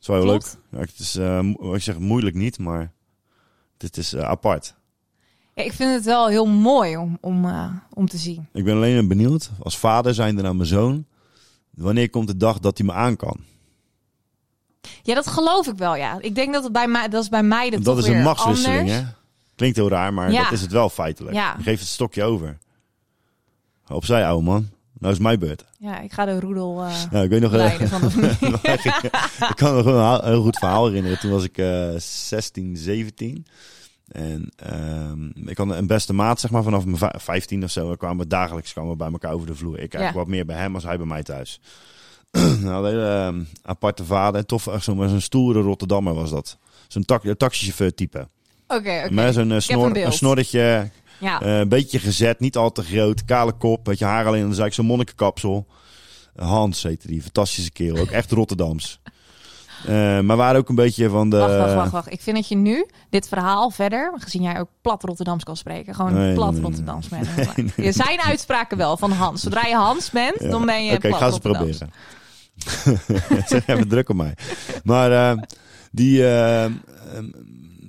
S6: is wel heel
S7: Klopt.
S6: leuk. Ja, het is, eh, mo- wat ik zeg, moeilijk niet, maar dit is eh, apart.
S7: ja ik vind het wel heel mooi om, om, eh, om te zien.
S6: Ik ben alleen benieuwd, als vader zijnde naar mijn zoon... Wanneer komt de dag dat hij me aan kan?
S7: Ja, dat geloof ik wel, ja. Ik denk dat het bij mij, dat is bij mij
S6: Want
S7: dat
S6: dat is een machtswisseling,
S7: anders.
S6: hè? Klinkt heel raar, maar
S7: Ja.
S6: dat is het wel feitelijk.
S7: Ja.
S6: Je geeft het stokje over. Opzij, ouwe man. Nou is mijn beurt.
S7: Ja, ik ga de roedel eh
S6: Nou, ik weet nog... eh,
S7: leiden van de familie.
S6: ik kan me gewoon een ha- heel goed verhaal herinneren. Toen was ik eh 16, 17. En ehm, ik had een beste maat, zeg maar, vanaf mijn va- 15 of zo. We kwamen dagelijks kwamen we bij elkaar over de vloer. Ik eigenlijk
S7: Ja.
S6: wat meer bij hem als hij bij mij thuis. nou, een hele ehm, aparte vader. Tof, echt zo'n zo'n stoere Rotterdammer was dat. Zo'n tak, taxichauffeur type.
S7: Oké, oké.
S6: Met zo'n eh, snor,
S7: beeld. Ah.
S6: een snorretje,
S7: Ja,
S6: eh, een beetje gezet, niet al te groot. Kale kop, beetje haar alleen aan de zijk, zo'n monnikenkapsel. Hans heette die, fantastische kerel. Ook echt Rotterdams. Eh, maar we waren ook een beetje van de...
S7: Wacht, wacht, wacht, wacht. Ik vind dat je nu dit verhaal verder, gezien jij ook plat Rotterdams kan spreken, gewoon
S6: Nee,
S7: plat
S6: nee, nee,
S7: Rotterdams. bent. Je zijn uitspraken wel van Hans. Zodra je Hans bent, dan ben je
S6: Oké, ik
S7: plat
S6: ga ze
S7: Rotterdams.
S6: proberen. Zeg even druk op mij. Maar eh, die, eh, ehm,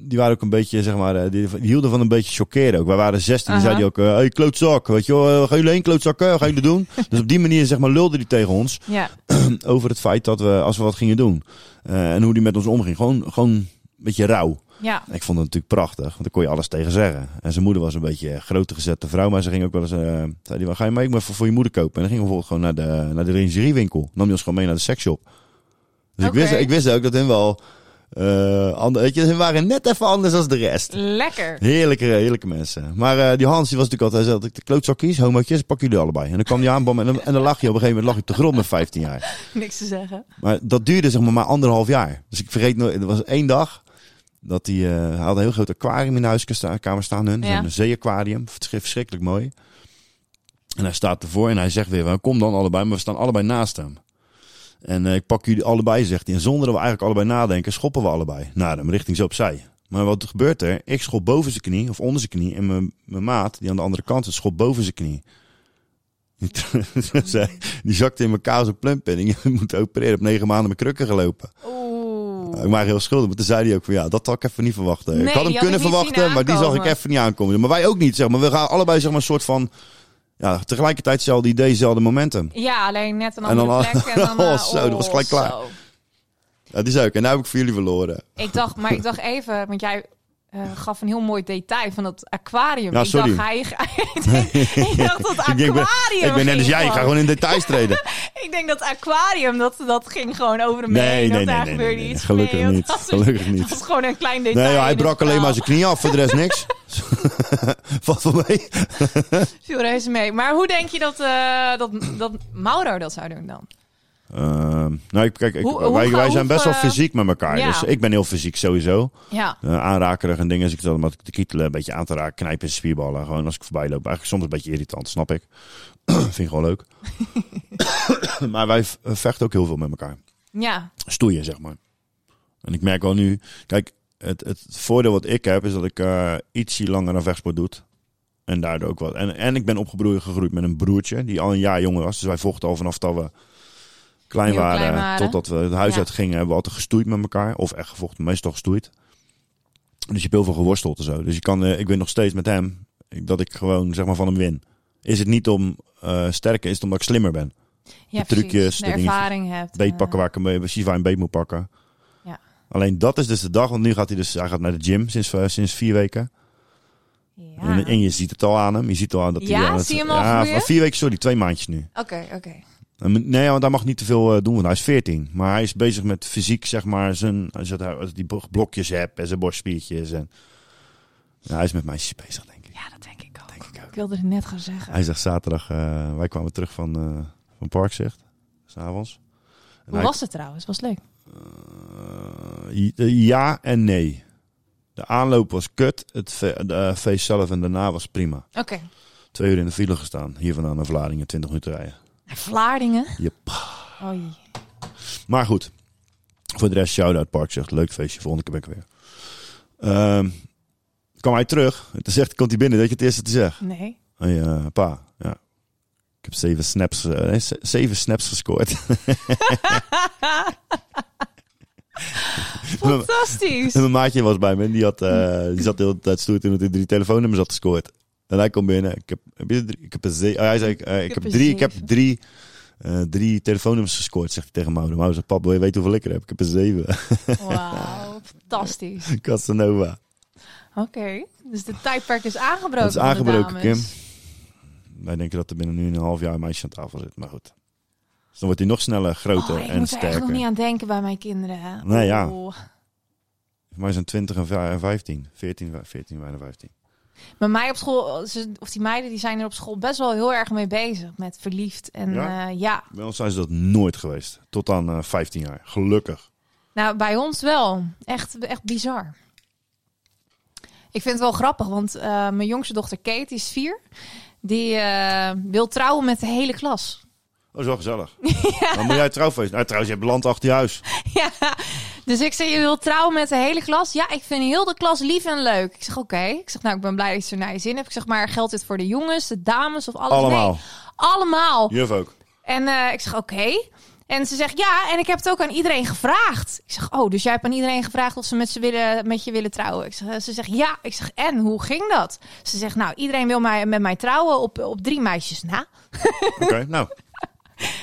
S6: die waren ook een beetje, zeg maar, eh, die, die hielden van een beetje chockeren ook. Wij waren 16, die
S7: Aha.
S6: zeiden ook, eh, hey klootzak, weet je wel, eh, gaan jullie heen klootzakken, gaan jullie doen? dus op die manier, zeg maar, lulden die tegen ons.
S7: Ja,
S6: over het feit dat we, als we wat gingen doen. eh, en hoe die met ons omging. Gewoon, gewoon een beetje rauw.
S7: ja,
S6: Ik vond het natuurlijk prachtig, want daar kon je alles tegen zeggen. En zijn moeder was een beetje een grote gezette vrouw, maar ze ging ook wel eens... eh, zei die, wel, ga je mee? Ik moet even voor je moeder kopen. En dan ging we bijvoorbeeld gewoon naar de, naar de lingeriewinkel. Nam die ons gewoon mee naar de seksshop. Dus
S7: Oké.
S6: ik, wist, ik wist ook dat hun wel... eh ander, weet je, hun waren net even anders dan de rest.
S7: lekker.
S6: Heerlijke, heerlijke mensen. Maar eh, die Hans die was natuurlijk altijd, hij zei, dat ik de klootzak kies, homootjes, pak jullie allebei. En dan kwam die aanbom en, dan- en dan lag je op een gegeven moment lag je op de grond met 15 jaar.
S7: Niks te zeggen.
S6: Maar dat duurde zeg maar maar anderhalf jaar. Dus ik vergeet nooit, er was één dag dat die, eh, hij had een heel groot aquarium in de huiskamer staan hun.
S7: Ja.
S6: Een zeeaquarium, Verschri- verschrikkelijk mooi. En hij staat ervoor en hij zegt weer, "Nou, kom dan allebei, maar we staan allebei naast hem. En eh, ik pak jullie allebei, zegt hij. En zonder dat we eigenlijk allebei nadenken, schoppen we allebei naar hem, richting ze opzij. Maar wat gebeurt er? Ik schop boven zijn knie, of onder zijn knie. En mijn, mijn maat, die aan de andere kant zit, schop boven zijn knie. Dus hij- die zakte in elkaar zo'n plumpenning. Je moet opereren. Ik heb negen maanden met krukken gelopen.
S7: Oeh.
S6: Ik maak heel schuldig, maar toen zei hij ook van ja, dat had ik even niet verwachten.
S7: Nee,
S6: ik had hem
S7: die had
S6: kunnen
S7: ik niet
S6: verwachten,
S7: zien
S6: maar die zag ik
S7: aankomen.
S6: even niet aankomen. Maar wij ook niet, zeg maar. We gaan allebei zeg maar een soort van, ja, tegelijkertijd hetzelfde idee, hetzelfde momentum.
S7: Ja, alleen net een
S6: En dan
S7: andere
S6: al-
S7: plek. En dan,
S6: Oh,
S7: eh,
S6: zo, dat was gelijk klaar.
S7: zo.
S6: Dat is ook. En nou heb ik voor jullie verloren.
S7: Ik dacht, maar ik dacht even, want jij eh, gaf een heel mooi detail van dat aquarium.
S6: Ja, Nou, sorry.
S7: Ik dacht, hij, ik dacht dat
S6: ik, denk,
S7: aquarium.
S6: ben- ik ben net als
S7: ging
S6: jij, ik ga gewoon in details treden.
S7: Ik denk dat aquarium, dat, dat ging gewoon over hem
S6: Nee,
S7: heen.
S6: nee,
S7: dat daar
S6: nee, nee,
S7: gebeurde
S6: nee, nee.
S7: iets
S6: Gelukkig
S7: mee. want
S6: niet,
S7: Dat was,
S6: gelukkig niet.
S7: Dat was gewoon een klein detail.
S6: Nee, joh, hij
S7: in het
S6: brak alleen
S7: verhaal.
S6: maar zijn knie af, voor de rest niks. Valt wel mee.
S7: Viel reuze mee. Maar hoe denk je dat, eh, dat, dat Mauro dat zou doen dan?
S6: Ehm, nou, ik, kijk, ik-
S7: Hoe- hoe
S6: wij,
S7: ga-
S6: wij zijn best wel
S7: hoeveel-
S6: fysiek met elkaar.
S7: Ja.
S6: Dus ik ben heel fysiek sowieso.
S7: Ja.
S6: Eh, aanrakerig en dingen. Dus ik zat hem altijd te kietelen, een beetje aan te raken, knijpen in spierballen. Gewoon als ik voorbij loop. Eigenlijk soms een beetje irritant, snap ik. Vind ik gewoon leuk. maar wij v- vechten ook heel veel met elkaar.
S7: Ja.
S6: Stoeien, zeg maar. En ik merk wel nu... Kijk, het, het voordeel wat ik heb is dat ik eh ietsje langer aan vechtsport doe. En daardoor ook wat. En, en ik ben opgebroeid gegroeid met een broertje die al een jaar jonger was. Dus wij vochten al vanaf dat we klein
S7: Heel klein
S6: waren,
S7: waren.
S6: totdat we het huis
S7: Ja.
S6: uit gingen. Hebben we altijd gestoeid met elkaar. Of echt gevochten, meestal gestoeid. Dus je hebt heel veel geworsteld en zo. Dus je kan, eh, ik weet nog steeds met hem ik- dat ik gewoon zeg maar van hem win. Is het niet om eh, sterker, is het omdat ik slimmer ben.
S7: ja
S6: trucjes,
S7: precies.
S6: de
S7: de
S6: dingetjes.
S7: ervaring hebt. eh,
S6: Beet pakken waar ik hem precies waar je een beet moet pakken.
S7: Ja.
S6: Alleen dat is dus de dag, want nu gaat hij dus hij gaat naar de gym sinds, eh, sinds vier weken.
S7: Ja.
S6: En, en je ziet het al aan hem. Je ziet al aan dat hij...
S7: Ja,
S6: eh, dat-
S7: zie je hem al
S6: ja,
S7: groeien?
S6: Vier weken, sorry. Twee maandjes nu.
S7: Oké, oké.
S6: En- Nee, want hij mag niet te veel eh, doen, want hij is 14. Maar hij is bezig met fysiek, zeg maar, zijn, als je dat- als je die bro- blokjes hebt en zijn borstspiertjes. En... Ja, hij is met meisjes bezig, denk ik.
S7: Ja, dat denk ik ook. ik, wilde het net gaan zeggen.
S6: Hij zegt zaterdag, eh, wij kwamen terug van, eh van Parkzicht, s'avonds. En
S7: Hoe
S6: hij-
S7: was het trouwens? Was het leuk.
S6: Eh, ja en nee. De aanloop was kut, het fe- de, eh, feest zelf en daarna was prima.
S7: Oké.
S6: Twee uur in de file gestaan, hier vandaan naar Vlaardingen, 20 minuten rijden.
S7: Vlaardingen.
S6: Yep.
S7: Oei.
S6: Maar goed. Voor de rest, shout-out Park zegt, leuk feestje, volgende keer ben ik er weer. Ehm kwam hij terug. En toen zegt, komt hij binnen, dat je het eerste te zeggen.
S7: Nee.
S6: Hey, eh, pa, ja. Ik heb zeven snaps, eh, nee, ze- zeven snaps gescoord.
S7: Fantastisch.
S6: en mijn maatje was bij me en die, had, eh, die zat de hele tijd stoer toen hij drie telefoonnummers had gescoord. En hij komt binnen, ik heb, heb je drie, ik heb een ze- oh, hij zei, eh, ik
S7: heb
S6: heb
S7: een
S6: drie, ik heb
S7: zeven.
S6: drie, eh, drie telefoonnummers gescoord, zegt hij tegen Mauro. Mauro zegt, pap, wil je weten hoeveel ik er heb? Ik heb een zeven.
S7: Wauw. Fantastisch.
S6: Casanova.
S7: Oké. Dus de tijdperk is aangebroken.
S6: Dat is
S7: van de
S6: aangebroken,
S7: dames.
S6: Kim. Wij denken dat er binnen nu een half jaar een meisje aan tafel zit, maar goed. Dus dan wordt hij nog sneller, groter
S7: Oh, ik
S6: en
S7: moet er echt nog
S6: sterker.
S7: niet aan denken bij mijn kinderen. hè.
S6: Nee, ja.
S7: Oeh.
S6: Maar zijn 20 en vij- en 15. 14, wa- 14 bijna 15.
S7: Maar mij op school, eh, ze- of die meiden, die zijn er op school best wel heel erg mee bezig. Met verliefd en
S6: Ja?
S7: ja. ja.
S6: Bij ons zijn ze dat nooit geweest. Tot aan eh, 15 jaar. Gelukkig.
S7: Nou, bij ons wel. Echt, echt bizar. Ik vind het wel grappig, want eh, mijn jongste dochter Kate, die is vier. Die eh, wil trouwen met de hele klas.
S6: Oh, is wel gezellig. Dan moet jij trouwfeest. Nou, trouwens, je hebt land achter je huis.
S7: ja. Dus ik zeg, je wil trouwen met de hele klas? Ja, ik vind heel de klas lief en leuk. Ik zeg, oké. Ik zeg, nou, ik ben blij dat je er naar je zin hebt. Ik zeg, maar geldt dit voor de jongens, de dames of alles?
S6: Allemaal.
S7: Nee, allemaal.
S6: Juf ook.
S7: En eh, ik zeg, oké. En ze zegt, ja, en ik heb het ook aan iedereen gevraagd. Ik zeg, oh, dus jij hebt aan iedereen gevraagd of ze met, ze willen, met je willen trouwen? Ik zeg, eh, ze zegt, ja. Ik zeg, en, hoe ging dat? Ze zegt, nou, iedereen wil mij, met mij trouwen op, op drie meisjes na.
S6: Oké, nou.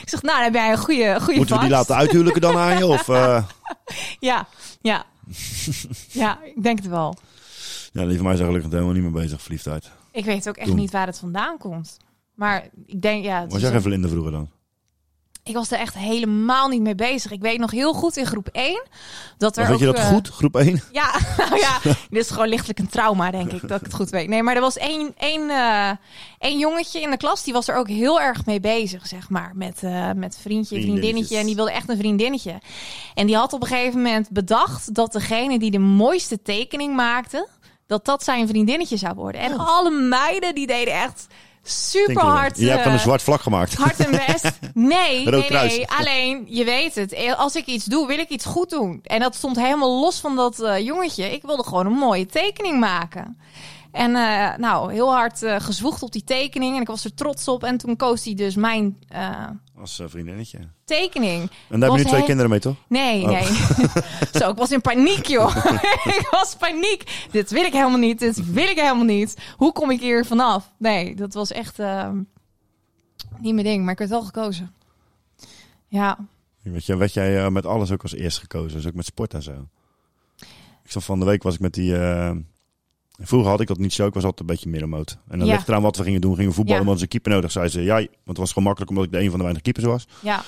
S7: Ik zeg, nou, dan heb jij een goede, goede
S6: Moeten we die
S7: vangst.
S6: laten uithuwelijken dan aan je? Of, eh,
S7: Ja, ja. ja, ik denk het wel.
S6: Ja, die van mij zijn gelukkig helemaal niet meer bezig, verliefdheid.
S7: Ik weet ook echt
S6: Doen.
S7: niet waar het vandaan komt. Maar ik denk, ja... het
S6: Was
S7: is
S6: jij
S7: een-
S6: geen vlinder vroeger dan?
S7: Ik was er echt helemaal niet mee bezig. Ik weet nog heel goed in groep 1 dat er
S6: Of weet
S7: ook,
S6: je dat
S7: eh,
S6: goed? Groep 1?
S7: Ja, nou ja, dit is gewoon lichtelijk een trauma, denk ik, dat ik het goed weet. Nee, maar er was één, één, eh, één jongetje in de klas, die was er ook heel erg mee bezig, zeg maar. Met, eh, met vriendje, vriendinnetje.
S6: Vriendinnetjes.
S7: En die wilde echt een vriendinnetje. En die had op een gegeven moment bedacht dat degene die de mooiste
S6: Oh.
S7: tekening maakte, dat dat zijn vriendinnetje zou worden. En alle meiden, die deden echt super hard.
S6: Je hebt van een
S7: eh,
S6: zwart vlak gemaakt.
S7: Hard en best. Nee,
S6: Rood
S7: nee,
S6: kruis.
S7: nee. Alleen, je weet het. Eh, Als ik iets doe, wil ik iets goed doen. En dat stond helemaal los van dat eh, jongetje. Ik wilde gewoon een mooie tekening maken. En eh, nou, heel hard eh, gezwoegd op die tekening. En ik was er trots op. En toen koos hij dus mijn eh,
S6: Als eh, vriendinnetje. En
S7: tekening.
S6: daar hebben
S7: Was
S6: nu twee
S7: hij-
S6: kinderen mee, toch?
S7: Nee,
S6: Oh.
S7: nee. Zo, ik was in paniek, joh. ik was paniek. Dit wil ik helemaal niet. Dit wil ik helemaal niet. Hoe kom ik hier vanaf? Nee, dat was echt ehm, niet mijn ding. Maar ik werd wel gekozen. Ja.
S6: Weet je, werd jij eh, met alles ook als eerst gekozen. Dus ook met sport en zo. Ik zat van de week was ik met die... eh, Vroeger had ik dat niet zo. Ik was altijd een beetje middenmoot. En dan
S7: Ja.
S6: ligt eraan wat we gingen doen. Gingen we voetballen,
S7: Ja.
S6: want ze een keeper nodig. Zei ze, ja, want het was gewoon makkelijk omdat ik de een van de weinige keepers was.
S7: Ja,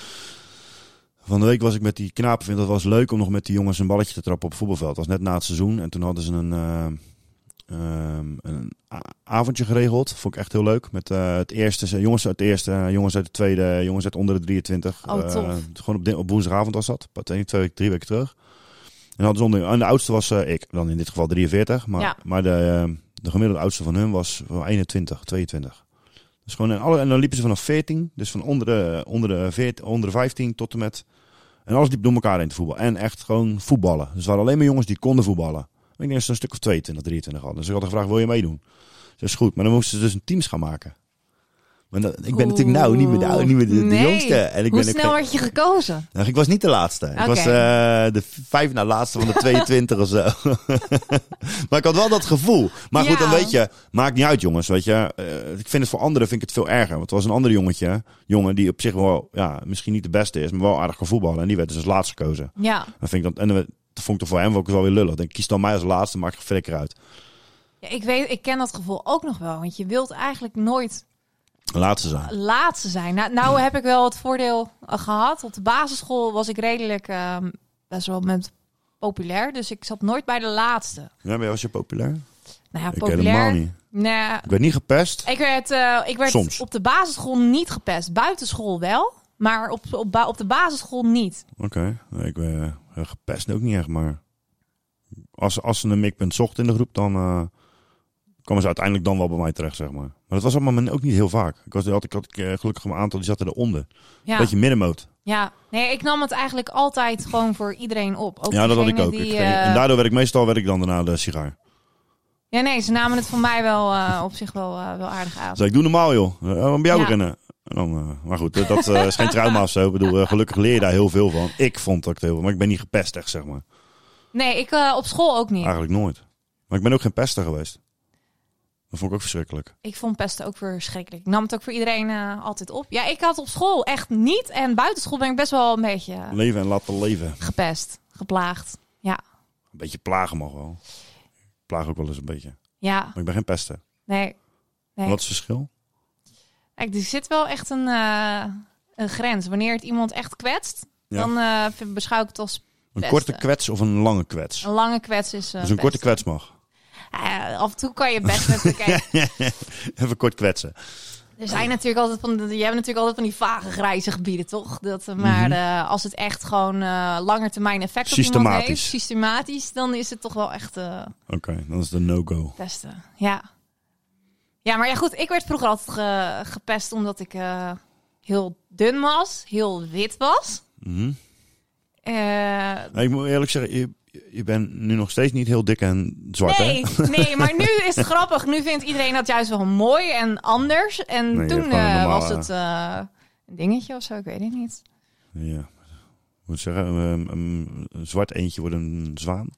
S6: Van de week was ik met die knapen. Vind dat was leuk om nog met die jongens een balletje te trappen op het voetbalveld. Dat was net na het seizoen. En toen hadden ze een, eh, ehm, een a- avondje geregeld. Vond ik echt heel leuk. Met eh, het eerste, jongens uit het eerste, eh, jongens uit de tweede, jongens uit onder de 23.
S7: Oh, tof.
S6: Eh, gewoon op, di- op woensdagavond was dat. Pas één, twee, drie weken terug. En, hadden ze onder, en de oudste was eh, ik. Dan in dit geval 43. Maar,
S7: Ja.
S6: maar de, eh, de gemiddelde oudste van hun was wel 21, 22. Dus gewoon en, alle, en dan liepen ze vanaf 14, dus van onder de, onder, de 14, onder de 15 tot en met. En alles liep door elkaar heen te voetbal. En echt gewoon voetballen. Dus er waren alleen maar jongens die konden voetballen. Ik denk dat ze een stuk of 22, 23 hadden. Dus ik had gevraagd, wil je meedoen? Ze is goed. Maar dan moesten ze dus een teams gaan maken. Maar dan- ik ben natuurlijk nou niet meer de, oude- niet meer de, de
S7: Nee.
S6: jongste. En ik
S7: Hoe
S6: ben ook
S7: snel
S6: geen-
S7: werd je gekozen?
S6: nou, ik was niet de laatste.
S7: Oké.
S6: Ik was eh, de v- vijf na laatste van de 22 of zo. maar ik had wel dat gevoel. Maar goed,
S7: Ja.
S6: dan weet je, maakt niet uit jongens. Weet je. Eh, ik vind het voor anderen vind ik het veel erger. Want er was een ander jongetje, jongen die op zich wel, ja, misschien niet de beste is, maar wel aardig kan voetballen. En die werd dus als laatste gekozen.
S7: Ja.
S6: Dan vind ik dat, en dan dat vond ik er voor hem ook wel weer lullig. Dan kies dan mij als laatste, maak ik flikker uit.
S7: ja ik, weet, ik ken dat gevoel ook nog wel. Want je wilt eigenlijk nooit
S6: Laatste zijn.
S7: laatste zijn. Nou, nou heb ik wel het voordeel eh, gehad. Op de basisschool was ik redelijk ehm, best wel met populair. Dus ik zat nooit bij de laatste.
S6: Ja, maar was je populair?
S7: Nou ja,
S6: Ik
S7: populair.
S6: helemaal niet.
S7: Nee,
S6: Ik werd niet gepest.
S7: ik werd, eh, ik werd
S6: Soms.
S7: op de basisschool niet gepest. Buitenschool wel, maar op, op, ba- op de basisschool niet.
S6: Oké, Nee, ik ben eh, gepest ook niet echt, maar als, als ze een mikpunt zocht in de groep, dan eh, kwamen ze uiteindelijk dan wel bij mij terecht, zeg maar. Maar dat was op het moment ook niet heel vaak. Ik, was, had, ik had eh, gelukkig een aantal die zaten eronder.
S7: Ja,
S6: Beetje middenmoot.
S7: ja. Nee, ik nam het eigenlijk altijd gewoon voor iedereen op. Ook
S6: Ja, dat had ik
S7: diegenen
S6: ook.
S7: Die,
S6: Ik ging-
S7: eh,
S6: en daardoor werd ik meestal werd ik dan daarna de sigaar.
S7: Ja, nee, ze namen het voor mij wel eh, op zich wel, eh, wel aardig aan.
S6: Dus ik doe normaal, joh. Eh, Waarom bij jou
S7: Ja.
S6: rennen? En dan, eh, maar goed, eh, dat eh, is geen trauma of zo. Ik bedoel, eh, gelukkig leer je daar heel veel van. Ik vond dat ik het heel veel, maar ik ben niet gepest echt, zeg maar.
S7: Nee, ik eh, op school ook niet.
S6: Eigenlijk nooit. Maar ik ben ook geen pester geweest. Dat vond ik ook verschrikkelijk.
S7: Ik vond pesten ook verschrikkelijk. Ik nam het ook voor iedereen eh, altijd op. Ja, ik had op school echt niet. En buitenschool ben ik best wel een beetje eh,
S6: Leven en laten leven.
S7: gepest, geplaagd. Ja,
S6: Een beetje plagen mag wel. Ik plaag ook wel eens een beetje. Maar
S7: ja,
S6: ik ben geen pester.
S7: nee. nee.
S6: Wat is het verschil?
S7: Kijk, er zit wel echt een, eh, een grens. Wanneer het iemand echt kwetst,
S6: Ja.
S7: dan eh, vind- beschouw ik het als
S6: Een
S7: Pesten.
S6: korte kwets of een lange kwets?
S7: een lange kwets is. eh,
S6: dus een korte
S7: pesten.
S6: kwets mag.
S7: Ah, af en toe kan je best met kijken.
S6: Even kort kwetsen.
S7: Er zijn natuurlijk altijd van, je hebt natuurlijk altijd van die vage grijze gebieden, toch? Dat, eh, maar
S6: Mhm.
S7: eh, als het echt gewoon eh langer termijn effect op iemand
S6: Systematisch.
S7: heeft, systematisch, dan is het toch wel echt eh
S6: Oké, dan is het een no-go.
S7: pesten. Ja. Ja, maar ja, goed, ik werd vroeger altijd ge- gepest omdat ik eh, heel dun was, heel wit was.
S6: Mhm.
S7: Eh,
S6: Nou, ik moet eerlijk zeggen, je, je bent nu nog steeds niet heel dik en zwart,
S7: nee,
S6: hè?
S7: nee, maar nu is het grappig. Nu vindt iedereen dat juist wel mooi en anders. En
S6: Nee,
S7: toen
S6: gewoon een
S7: eh,
S6: normale-
S7: was het eh, een dingetje of zo, ik weet het niet.
S6: Ja. Ik Moet zeggen, een, een- een zwart eentje wordt een zwaan.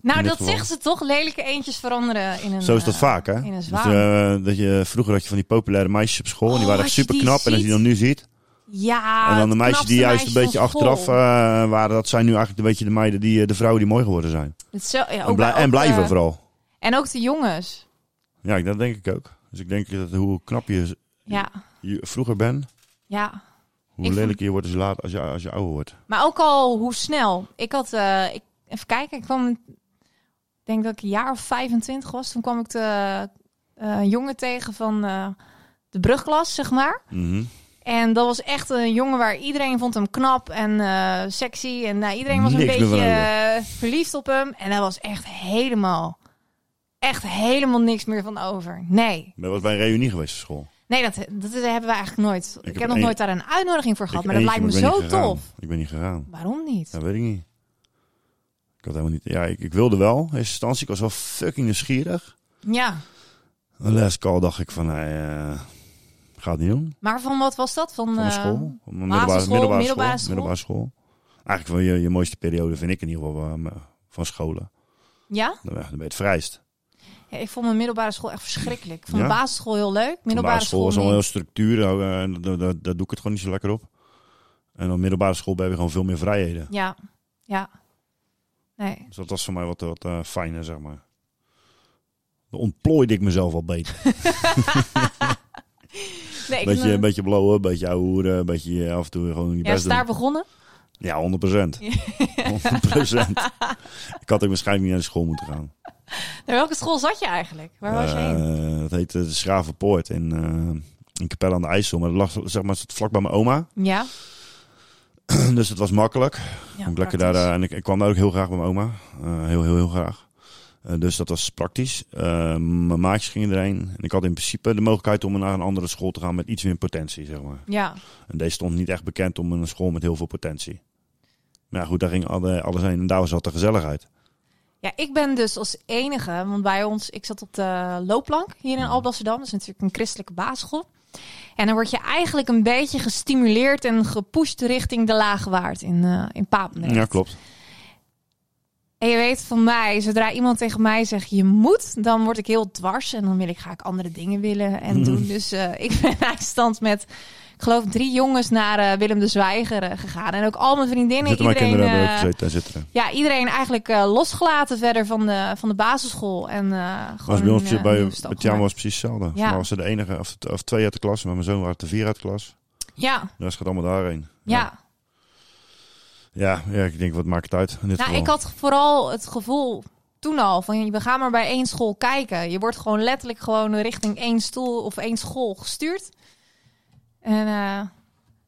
S7: Nou,
S6: In dit
S7: dat
S6: geval.
S7: zeggen ze toch? Lelijke eentjes veranderen in een.
S6: Zo is dat
S7: eh,
S6: vaak, hè?
S7: In een
S6: Dus,
S7: zwaan.
S6: eh, dat je, vroeger had je van die populaire meisjes op school. en
S7: Oh,
S6: die waren
S7: als
S6: echt
S7: je die
S6: super knap. En als je
S7: ziet.
S6: dan nu ziet,
S7: ja.
S6: en dan de
S7: het
S6: meisjes die
S7: knapste
S6: juist een
S7: meisje
S6: beetje
S7: van school.
S6: achteraf eh, waren, dat zijn nu eigenlijk een beetje de meiden die eh, de vrouwen die mooi geworden zijn.
S7: Het is zo, ja, ook
S6: en, blij-
S7: bij-
S6: en
S7: ook,
S6: blijven
S7: eh,
S6: vooral.
S7: En ook de jongens.
S6: Ja, ik- dat denk ik ook. Dus ik denk dat hoe knap je,
S7: Ja,
S6: je vroeger bent,
S7: ja.
S6: hoe
S7: Ik
S6: lelijker je wordt als je, laat, als je, als je ouder wordt.
S7: Maar ook al hoe snel. Ik had, eh, ik, even kijken, ik kwam, ik denk dat ik een jaar of 25 was. Toen kwam ik de eh, jongen tegen van eh, de brugklas, zeg maar.
S6: Mhm.
S7: En dat was echt een jongen waar iedereen vond hem knap en eh, sexy. En nou, iedereen was een
S6: Niks meer
S7: beetje
S6: van
S7: eh, verliefd op hem. En daar was echt helemaal, echt helemaal niks meer van over. Nee.
S6: Ik ben wel eens bij een reunie geweest op school.
S7: Nee, dat, dat is- hebben we eigenlijk nooit. Ik,
S6: heb
S7: heb nog
S6: één-
S7: nooit daar een uitnodiging voor gehad,
S6: Ik
S7: maar dat
S6: eentje,
S7: lijkt me
S6: ik ben
S7: zo
S6: niet gegaan.
S7: tof.
S6: Ik ben niet gegaan.
S7: Waarom niet?
S6: Dat weet ik niet. Ik had helemaal niet. Ja, ik, ik wilde wel in eerste instantie. Ik was wel fucking nieuwsgierig.
S7: Ja,
S6: De last call dacht ik van, nee, eh, ga het niet doen.
S7: maar van wat was dat? Van,
S6: Van de
S7: eh,
S6: school. Van mijn
S7: basisschool,
S6: middelbare, middelbare,
S7: middelbare
S6: school.
S7: school.
S6: middelbare school. Eigenlijk wel je, je mooiste periode, vind ik in ieder geval, eh, van scholen.
S7: Ja?
S6: Dan ben dan ben je het vrijst.
S7: Ja, ik vond mijn middelbare school echt verschrikkelijk. Ik vond
S6: Ja?
S7: de basisschool heel leuk. Middelbare
S6: Middelbare school was allemaal
S7: niet.
S6: heel structuur. eh, Daar, daar, daar doe ik het gewoon niet zo lekker op. En op middelbare school ben je gewoon veel meer vrijheden.
S7: Ja, ja. Nee.
S6: Dus dat was voor mij wat, wat eh, fijner, zeg maar. Dan ontplooide ik mezelf al beter.
S7: nee ik
S6: beetje,
S7: ben,
S6: een beetje blowen, een beetje ouwe hoeren, een beetje eh, af en toe gewoon je
S7: ja, is
S6: best
S7: daar
S6: doen.
S7: begonnen?
S6: Ja, 100 procent. 100 Ik had ook waarschijnlijk niet naar de school moeten gaan.
S7: Naar welke school zat je eigenlijk? Waar was je heen?
S6: Eh, dat heette de Schravenpoort in, eh in Capelle aan de IJssel. Maar dat lag zeg maar, vlak bij mijn oma.
S7: Ja.
S6: dus het was makkelijk.
S7: ja
S6: Om lekker daar,
S7: praktisch.
S6: eh, en ik, ik kwam daar ook heel graag bij mijn oma. Eh, heel, heel, heel graag. Eh, dus dat was praktisch. Eh, mijn maatjes gingen erheen. En ik had in principe de mogelijkheid om naar een andere school te gaan met iets meer potentie, zeg maar.
S7: Ja,
S6: En deze stond niet echt bekend om een school met heel veel potentie. Maar ja, goed, daar ging alle- alles heen. En daar was altijd de gezelligheid.
S7: Ja, ik ben dus als enige, want bij ons, ik zat op de loopplank hier in
S6: Hmm.
S7: Alblasserdam. Dat is natuurlijk een christelijke basisschool. En dan word je eigenlijk een beetje gestimuleerd en gepusht richting de lage waard in, eh in Papendrecht.
S6: Ja, klopt.
S7: En je weet van mij, zodra iemand tegen mij zegt je moet, dan word ik heel dwars. En dan wil ik, ga ik andere dingen willen
S6: Mm.
S7: en doen. Dus eh, ik ben eindstand met, ik geloof, drie jongens naar eh, Willem de Zwijger eh, gegaan. En ook al mijn
S6: Er
S7: vriendinnen,
S6: zitten maar kinderen
S7: eh,
S6: hebben ook gezeten en zitten. er.
S7: ja, iedereen eigenlijk eh, losgelaten verder van de, van de basisschool. En eh,
S6: Was
S7: gewoon
S6: bij ons
S7: eh,
S6: bij
S7: een
S6: bij
S7: nieuwe stap
S6: Tjaan was
S7: gemaakt.
S6: het precies hetzelfde.
S7: Ja.
S6: Ja. was ze de enige, of, of twee uit de klas. Maar mijn zoon waren de vier uit de klas.
S7: Ja,
S6: De rest gaat allemaal daarheen.
S7: ja.
S6: Ja, ja, ik denk, wat maakt het uit? In dit
S7: Nou,
S6: geval.
S7: ik had vooral het gevoel toen al van we gaan maar bij één school kijken. Je wordt gewoon letterlijk gewoon richting één stoel of één school gestuurd. En eh,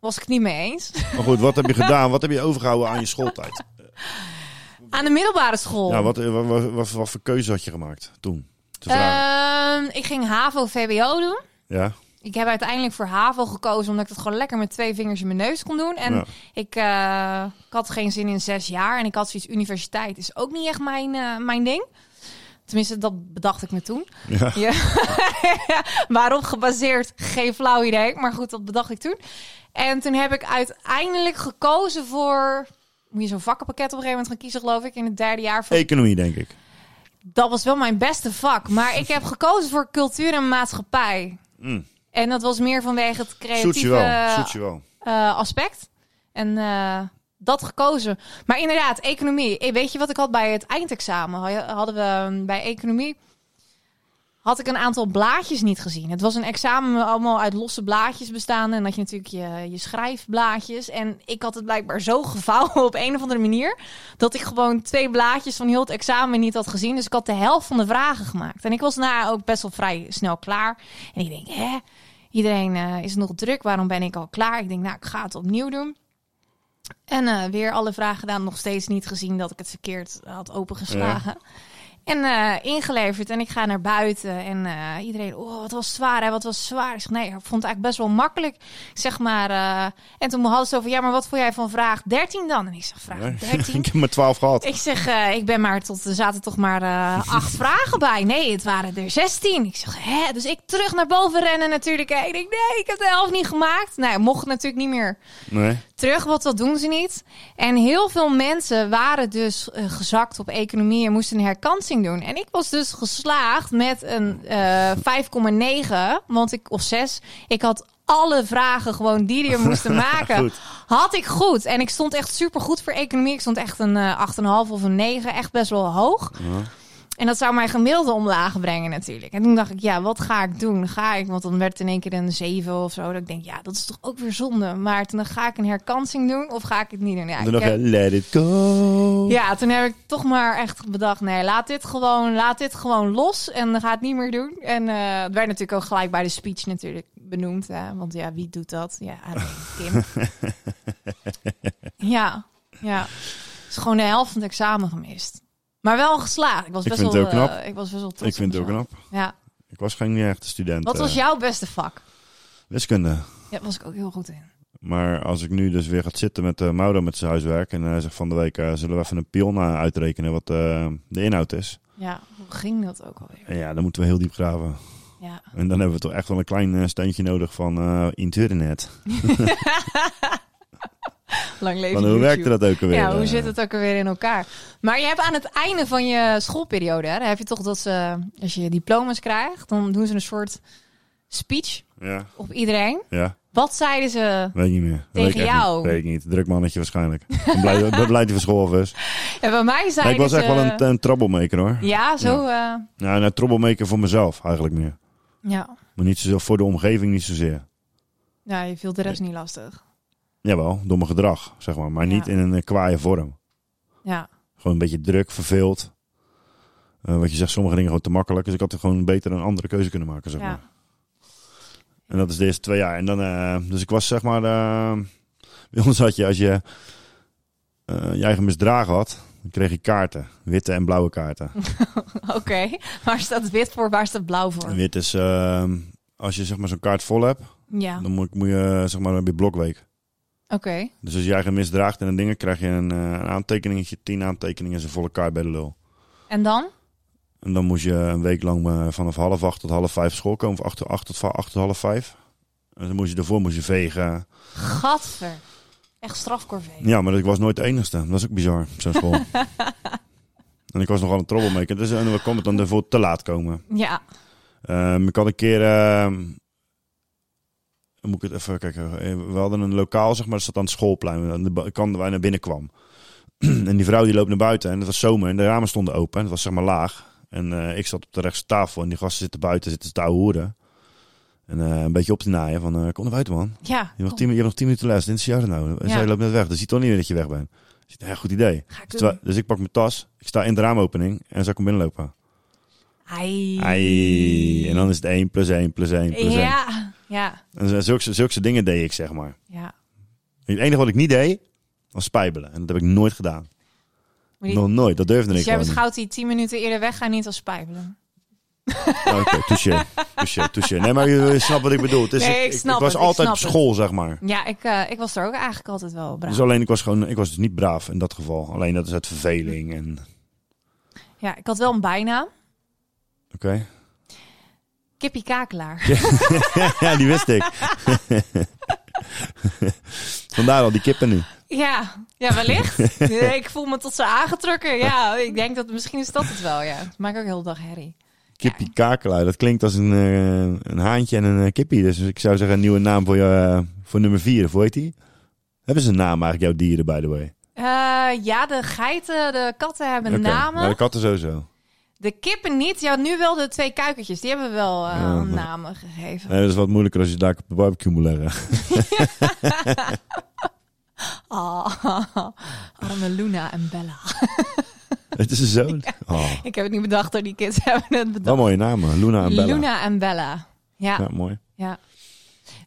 S7: was ik het niet mee eens.
S6: Maar goed, wat heb je gedaan? Wat heb je overgehouden aan je schooltijd?
S7: Aan de middelbare school.
S6: Ja, wat, eh, wat, wat, wat, wat voor keuze had je gemaakt toen? Te vragen.
S7: Ehm, ik ging HAVO-VWO doen.
S6: ja?
S7: Ik heb uiteindelijk voor HAVO gekozen omdat ik dat gewoon lekker met twee vingers in mijn neus kon doen. En
S6: Ja.
S7: ik, eh, ik had geen zin in zes jaar. En ik had zoiets, universiteit is ook niet echt mijn, eh, mijn ding. Tenminste, dat bedacht ik me toen.
S6: Ja.
S7: Ja. Waarop gebaseerd, geen flauw idee. Maar goed, dat bedacht ik toen. En toen heb ik uiteindelijk gekozen voor... Moet je zo'n vakkenpakket op een gegeven moment gaan kiezen, geloof ik. In het derde jaar van
S6: Economie, denk ik.
S7: dat was wel mijn beste vak. Maar ik heb gekozen voor cultuur en maatschappij.
S6: Mm.
S7: En dat was meer vanwege het
S6: Zoet je
S7: creatieve
S6: wel, zoet je wel.
S7: eh, aspect. En eh, dat gekozen. Maar inderdaad, economie. Eh, Weet je wat ik had bij het eindexamen? Hadden we eh, bij economie... Had ik een aantal blaadjes niet gezien. Het was een examen allemaal uit losse blaadjes bestaande. En dan had je natuurlijk je, je schrijfblaadjes. En ik had het blijkbaar zo gevouwen op een of andere manier. Dat ik gewoon twee blaadjes van heel het examen niet had gezien. Dus ik had de helft van de vragen gemaakt. En ik was na ook best wel vrij snel klaar. En ik denk, hè, iedereen eh, is nog druk. Waarom ben ik al klaar? Ik denk, nou, ik ga het opnieuw doen. En eh, weer alle vragen gedaan. Nog steeds niet gezien dat ik het verkeerd had opengeslagen. En eh, ingeleverd. En ik ga naar buiten. En eh, iedereen, oh, wat was zwaar, hè? Wat was zwaar. Ik zeg, nee, ik vond het eigenlijk best wel makkelijk. Zeg maar. eh, en toen hadden ze over, ja, maar wat vond jij van vraag 13 dan? En ik zeg,
S6: Nee.
S7: vraag
S6: ik
S7: 13?
S6: heb maar twaalf gehad.
S7: Ik zeg, eh, ik ben maar tot, er zaten toch maar eh, acht vragen bij. Nee, het waren er zestien. Ik zeg, hè? Dus ik terug naar boven rennen natuurlijk. En ik denk, nee, ik heb de helft niet gemaakt. Nou, mocht het natuurlijk niet meer
S6: Nee.
S7: terug, want dat doen ze niet. En heel veel mensen waren dus eh, gezakt op economie en moesten een herkansing doen. En ik was dus geslaagd met een eh 5,9, want ik, of 6. Ik had alle vragen gewoon die die er moesten maken,
S6: Goed.
S7: had ik goed. En ik stond echt super goed voor economie. Ik stond echt een eh 8,5 of een 9, echt best wel hoog. En dat zou mijn gemiddelde omlaag brengen natuurlijk. En toen dacht ik, ja, wat ga ik doen? Ga ik? Want dan werd het in één keer een 7 of zo. Dat ik denk, ja, dat is toch ook weer zonde. Maar toen dacht ik, ga ik een herkansing doen of ga ik het niet doen? Ja,
S6: En
S7: ik eh,
S6: Toen dacht
S7: heb-
S6: je, let it go.
S7: ja, toen heb ik toch maar echt bedacht, nee, laat dit gewoon, laat dit gewoon los en dan ga het niet meer doen. En eh, het werd natuurlijk ook gelijk bij de speech natuurlijk benoemd, hè, want ja, wie doet dat? Ja, alleen Kim. ja, ja. Dus gewoon de helft van het examen gemist. Maar wel geslaagd. Ik was
S6: Ik
S7: best
S6: vind
S7: wel,
S6: het ook knap.
S7: eh, ik was best wel trots
S6: ik vind
S7: op
S6: het ook
S7: mezelf.
S6: knap.
S7: Ja.
S6: Ik was geen echte student.
S7: Wat was
S6: eh.
S7: jouw beste vak?
S6: Wiskunde.
S7: Daar was ik ook heel goed in.
S6: Maar als ik nu dus weer ga zitten met eh Mauro met zijn huiswerk en hij zegt van de week eh, zullen we even een pion eh, uitrekenen wat eh, de inhoud is.
S7: Ja, hoe ging dat ook alweer?
S6: En ja, dan moeten we heel diep graven.
S7: Ja.
S6: En dan hebben we toch echt wel een klein eh, steuntje nodig van eh, internet.
S7: Lang leven
S6: Van hoe
S7: YouTube.
S6: werkte dat ook alweer?
S7: Ja, hoe
S6: eh?
S7: zit het ook alweer in elkaar? Maar je hebt aan het einde van je schoolperiode, hè, dan heb je toch dat ze, als je je diplomas krijgt, dan doen ze een soort speech
S6: Ja,
S7: op iedereen.
S6: ja.
S7: Wat zeiden ze?
S6: Weet ik niet meer. Dat weet ik echt
S7: jou.
S6: Niet. Weet ik niet. Druk mannetje waarschijnlijk. Ik ben blij, ik ben blij dat hij van school af is.
S7: En bij mij
S6: Nee,
S7: zeiden
S6: ik was
S7: ze...
S6: echt wel een, eh, een troublemaker hoor.
S7: eh, Ja, zo... Ja.
S6: Nou, een troublemaker voor mezelf eigenlijk meer.
S7: ja.
S6: Maar niet zozeer voor de omgeving, niet zozeer.
S7: ja, je viel de rest niet lastig.
S6: Jawel, door mijn gedrag, zeg maar. Maar
S7: Ja.
S6: niet in een eh, kwaaie vorm.
S7: Ja.
S6: Gewoon een beetje druk, verveeld. Eh, wat je zegt, sommige dingen gewoon te makkelijk. Dus ik had er gewoon beter een andere keuze kunnen maken, zeg
S7: Ja.
S6: maar. En dat is de eerste twee jaar. En dan, eh, dus ik was zeg maar... eh, bij ons had je, als je eh, je eigen misdrag had, dan kreeg je kaarten. Witte en blauwe kaarten.
S7: Oké. Waar staat wit voor? Waar staat blauw voor?
S6: En wit is, eh, als je zeg maar zo'n kaart vol hebt,
S7: Ja. Oké.
S6: dan moet, moet je zeg maar, dan heb je blokweek. Dus als je je eigen misdraagt en een dingen, krijg je een, eh, een aantekeningetje, tien aantekeningen en ze volle kaart bij de lul.
S7: En dan?
S6: En dan moest je een week lang eh, vanaf half acht tot half vijf school komen. Of acht, acht tot va- acht tot half vijf. En dan moest je daarvoor moest je vegen.
S7: Gadver. Echt strafcorvée.
S6: Ja, maar ik was nooit de enigste. Dat is ook bizar, zo'n school. en ik was nogal een troublemaker. Dus en dan kwam het dan daarvoor te laat komen.
S7: Ja.
S6: Ehm, ik had een keer... ehm, moet ik het even kijken. Eh, We hadden een lokaal, zeg maar, dat zat aan het schoolplein. Aan de ba- kant waar je naar binnen kwam. en die vrouw die loopt naar buiten. En het was zomer en de ramen stonden open. En het was zeg maar laag. En eh, ik zat op de rechtse tafel. En die gasten zitten buiten, zitten te hoeren. En eh, een beetje op te naaien van, eh, kom naar buiten man.
S7: Ja.
S6: Je hebt nog
S7: Kom,
S6: tien, je hebt nog tien minuten les. Dit is jou nou. En
S7: Oh. Ja.
S6: zij loopt net weg. Dus ziet toch niet meer dat je weg bent. Dus, ik, ja, goed idee.
S7: Ga ik
S6: Dus, terwijl-
S7: doen.
S6: dus ik pak mijn tas. Ik sta in de raamopening. En dan kom binnenlopen.
S7: Ai.
S6: Ai. En dan is het 1 plus 1 plus 1 plus 1.
S7: Ja. Ja.
S6: En zo- zulke, zulke dingen deed ik, zeg maar.
S7: Ja.
S6: Het enige wat ik niet deed, was spijbelen. En dat heb ik nooit gedaan.
S7: Maar die-
S6: Nog nooit, dat durfde
S7: Dus
S6: ik
S7: jij
S6: gewoon niet.
S7: beschouwt die 10 minuten eerder weggaan niet als spijbelen.
S6: Oké, touché, touché, touché. Nee, maar je, je snapt wat ik bedoel. Het is,
S7: Nee, ik snap
S6: was
S7: het, ik
S6: altijd op
S7: snap
S6: school, zeg maar.
S7: Ja, ik, eh, ik was er ook eigenlijk altijd wel braaf.
S6: Dus alleen, ik was, gewoon, ik was dus niet braaf in dat geval. Alleen dat is uit verveling. En,
S7: Ja, ik had wel een bijnaam.
S6: Oké.
S7: Kippie Kakelaar.
S6: ja, die wist ik. Vandaar al die kippen nu.
S7: Ja, ja wellicht. Nee, ik voel me tot ze aangetrokken. Ja, ik denk dat misschien is dat het wel. Ja. Ik maak ook heel de dag herrie.
S6: Kippie kakelaar, dat klinkt als een, eh, een haantje en een eh, kippie. Dus ik zou zeggen een nieuwe naam voor, je, eh, voor nummer vier. Of hoe heet die? Hebben ze een naam eigenlijk, jouw dieren, by the way?
S7: Eh, ja, de geiten, de katten hebben
S6: Oké,
S7: namen.
S6: Ja, de katten sowieso.
S7: De kippen niet. Ja, nu wel de twee kuikentjes. Die hebben wel eh,
S6: Ja, maar-
S7: namen gegeven.
S6: Nee, dat is wat moeilijker als je daar op de barbecue moet leggen.
S7: Oh, arme Luna en Bella.
S6: het is een zoon. Oh,
S7: Ik heb het niet bedacht door die kids hebben het bedacht.
S6: wel mooie namen. Luna en Bella.
S7: Luna en Bella.
S6: Ja,
S7: Ja, ja.
S6: mooi.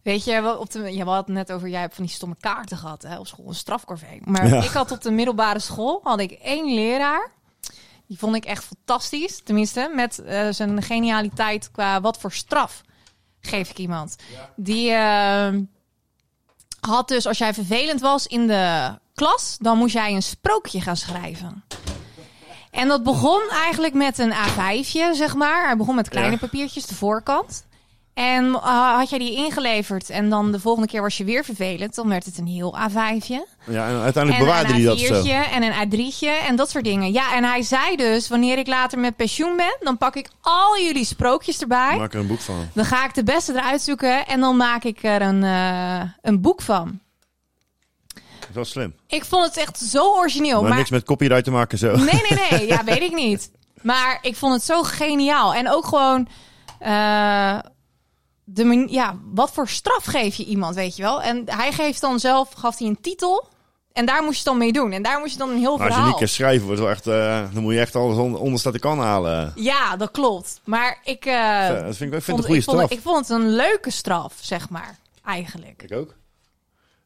S7: Weet je, wel op de, je had het net over, jij hebt van die stomme kaarten gehad hè, op school, een strafcorvée. Maar
S6: Ja.
S7: ik had op de middelbare school, had ik één leraar. Die vond ik echt fantastisch, tenminste, met eh, zijn genialiteit qua wat voor straf geef ik iemand. Die eh, had dus, als jij vervelend was in de klas, dan moest jij een sprookje gaan schrijven. En dat begon eigenlijk met een A5'tje, zeg maar. Hij begon met kleine
S6: Ja.
S7: papiertjes, de voorkant. En eh, had jij die ingeleverd en dan de volgende keer was je weer vervelend, dan werd het een heel A5'tje.
S6: Ja, en uiteindelijk
S7: En
S6: bewaarde hij
S7: een
S6: dat zo.
S7: A4'tje en een A3'tje en dat soort dingen. Ja, en hij zei dus, wanneer ik later met pensioen ben, dan pak ik al jullie sprookjes erbij.
S6: Maak er een boek van.
S7: Dan ga ik de beste eruit zoeken en dan maak ik er een, eh, een boek van.
S6: Dat is wel slim.
S7: Ik vond het echt zo origineel.
S6: maar,
S7: Oh, maar
S6: niks met copyright te maken zo.
S7: Nee, nee, nee. Ja, weet ik niet. Maar ik vond het zo geniaal. En ook gewoon... eh, de man- ja, wat voor straf geef je iemand, weet je wel? En hij geeft dan zelf... Gaf hij een titel... En daar moest je dan mee doen. En daar moest je dan een heel
S6: Maar als je
S7: verhaal...
S6: niet kan schrijven, wordt wel echt, eh, dan moet je echt alles on- onderstaat de kan halen.
S7: Ja, dat klopt. Maar ik... eh,
S6: dat vind ik, wel- ik vind het
S7: vond-
S6: een goede
S7: ik vond,
S6: straf.
S7: het- ik vond het een leuke straf, zeg maar. Eigenlijk.
S6: Ik ook.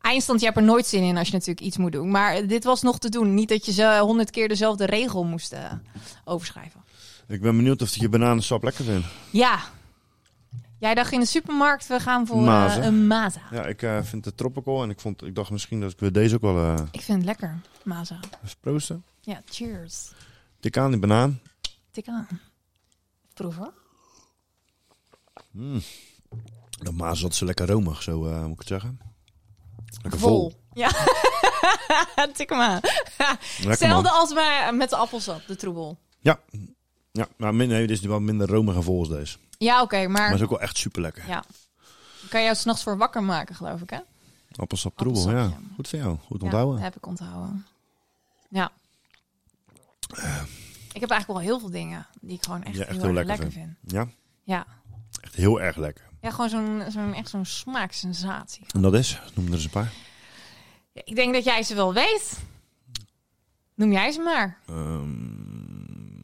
S7: Eindstand, je hebt er nooit zin in als je natuurlijk iets moet doen. Maar dit was nog te doen. Niet dat je ze honderd keer dezelfde regel moest eh, overschrijven.
S6: Ik ben benieuwd of je bananensap lekker vindt.
S7: Ja. Jij dacht in de supermarkt, we gaan voor eh,
S6: Maza.
S7: een maza.
S6: Ja, ik eh, vind het tropical en ik, vond, ik dacht misschien dat ik weer deze ook wel eh
S7: Ik vind het lekker, maza.
S6: even proosten.
S7: Ja, cheers.
S6: Tik aan die banaan.
S7: Tik aan. Proef hoor.
S6: De maas wat ze lekker romig, zo eh, moet ik het zeggen. Lekker vol.
S7: Vol. Ja, tik hem aan.
S6: Lekker man.
S7: Hetzelfde als bij, met de appelsap, de troebel.
S6: Ja. Ja, maar min- nee, dit is wel minder romig en vol als deze.
S7: Ja, oké, maar...
S6: Maar het is ook wel echt super lekker.
S7: Ja. Kan je jou s'nachts voor wakker maken, geloof ik, hè?
S6: Appelsap troebel, ja.
S7: Appelsap, ja.
S6: Goed voor jou. Goed
S7: Ja,
S6: onthouden.
S7: heb ik onthouden. Ja. Ik heb eigenlijk wel heel veel dingen die ik gewoon echt,
S6: Ja, echt
S7: heel,
S6: heel
S7: erg
S6: lekker
S7: lekker vind.
S6: Ja,
S7: Ja.
S6: echt heel erg lekker.
S7: ja, gewoon zo'n zo'n echt zo'n smaaksensatie.
S6: En dat is, noem er eens een paar.
S7: Ja, ik denk dat jij ze wel weet. Noem jij ze maar.
S6: Ehm.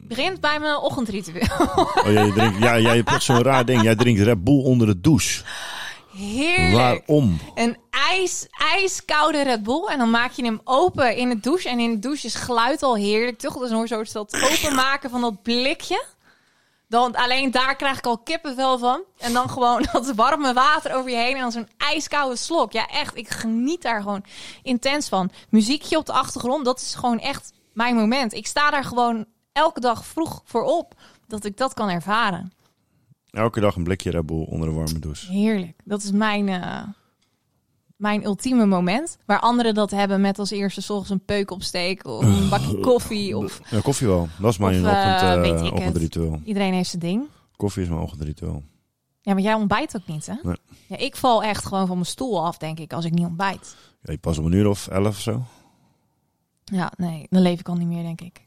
S7: Begint bij mijn ochtendritueel.
S6: Oh, jij drinkt, ja, jij hebt echt zo'n raar ding. Jij drinkt Red Bull onder de douche.
S7: Heerlijk.
S6: Waarom?
S7: Een ijs, ijskoude Red Bull. En dan maak je hem open in de douche. En in de douche is geluid al heerlijk, toch? Dus dan hoor je zo het dat openmaken van dat blikje. Dan, alleen daar krijg ik al kippenvel van. En dan gewoon dat warme water over je heen. En dan zo'n ijskoude slok. Ja, echt. Ik geniet daar gewoon intens van. Muziekje op de achtergrond. Dat is gewoon echt mijn moment. Ik sta daar gewoon elke dag vroeg voor op. Dat ik dat kan ervaren.
S6: Elke dag een blikje Red Bull onder de warme douche.
S7: Heerlijk. Dat is mijn, eh, mijn ultieme moment. Waar anderen dat hebben met als eerste 's ochtends een peuk opsteken of een bakje koffie. Of,
S6: Ja, koffie wel. Dat is mijn
S7: Of, eh,
S6: ochtend, eh,
S7: weet ik het.
S6: ochtendritueel.
S7: iedereen heeft zijn ding.
S6: Koffie is mijn ochtendritueel.
S7: Ja, maar jij ontbijt ook niet, hè?
S6: Nee.
S7: Ja, ik val echt gewoon van mijn stoel af, denk ik, als ik niet ontbijt.
S6: Ja, ik pas om een uur of elf of zo.
S7: Ja, nee, dan leef ik al niet meer, denk ik.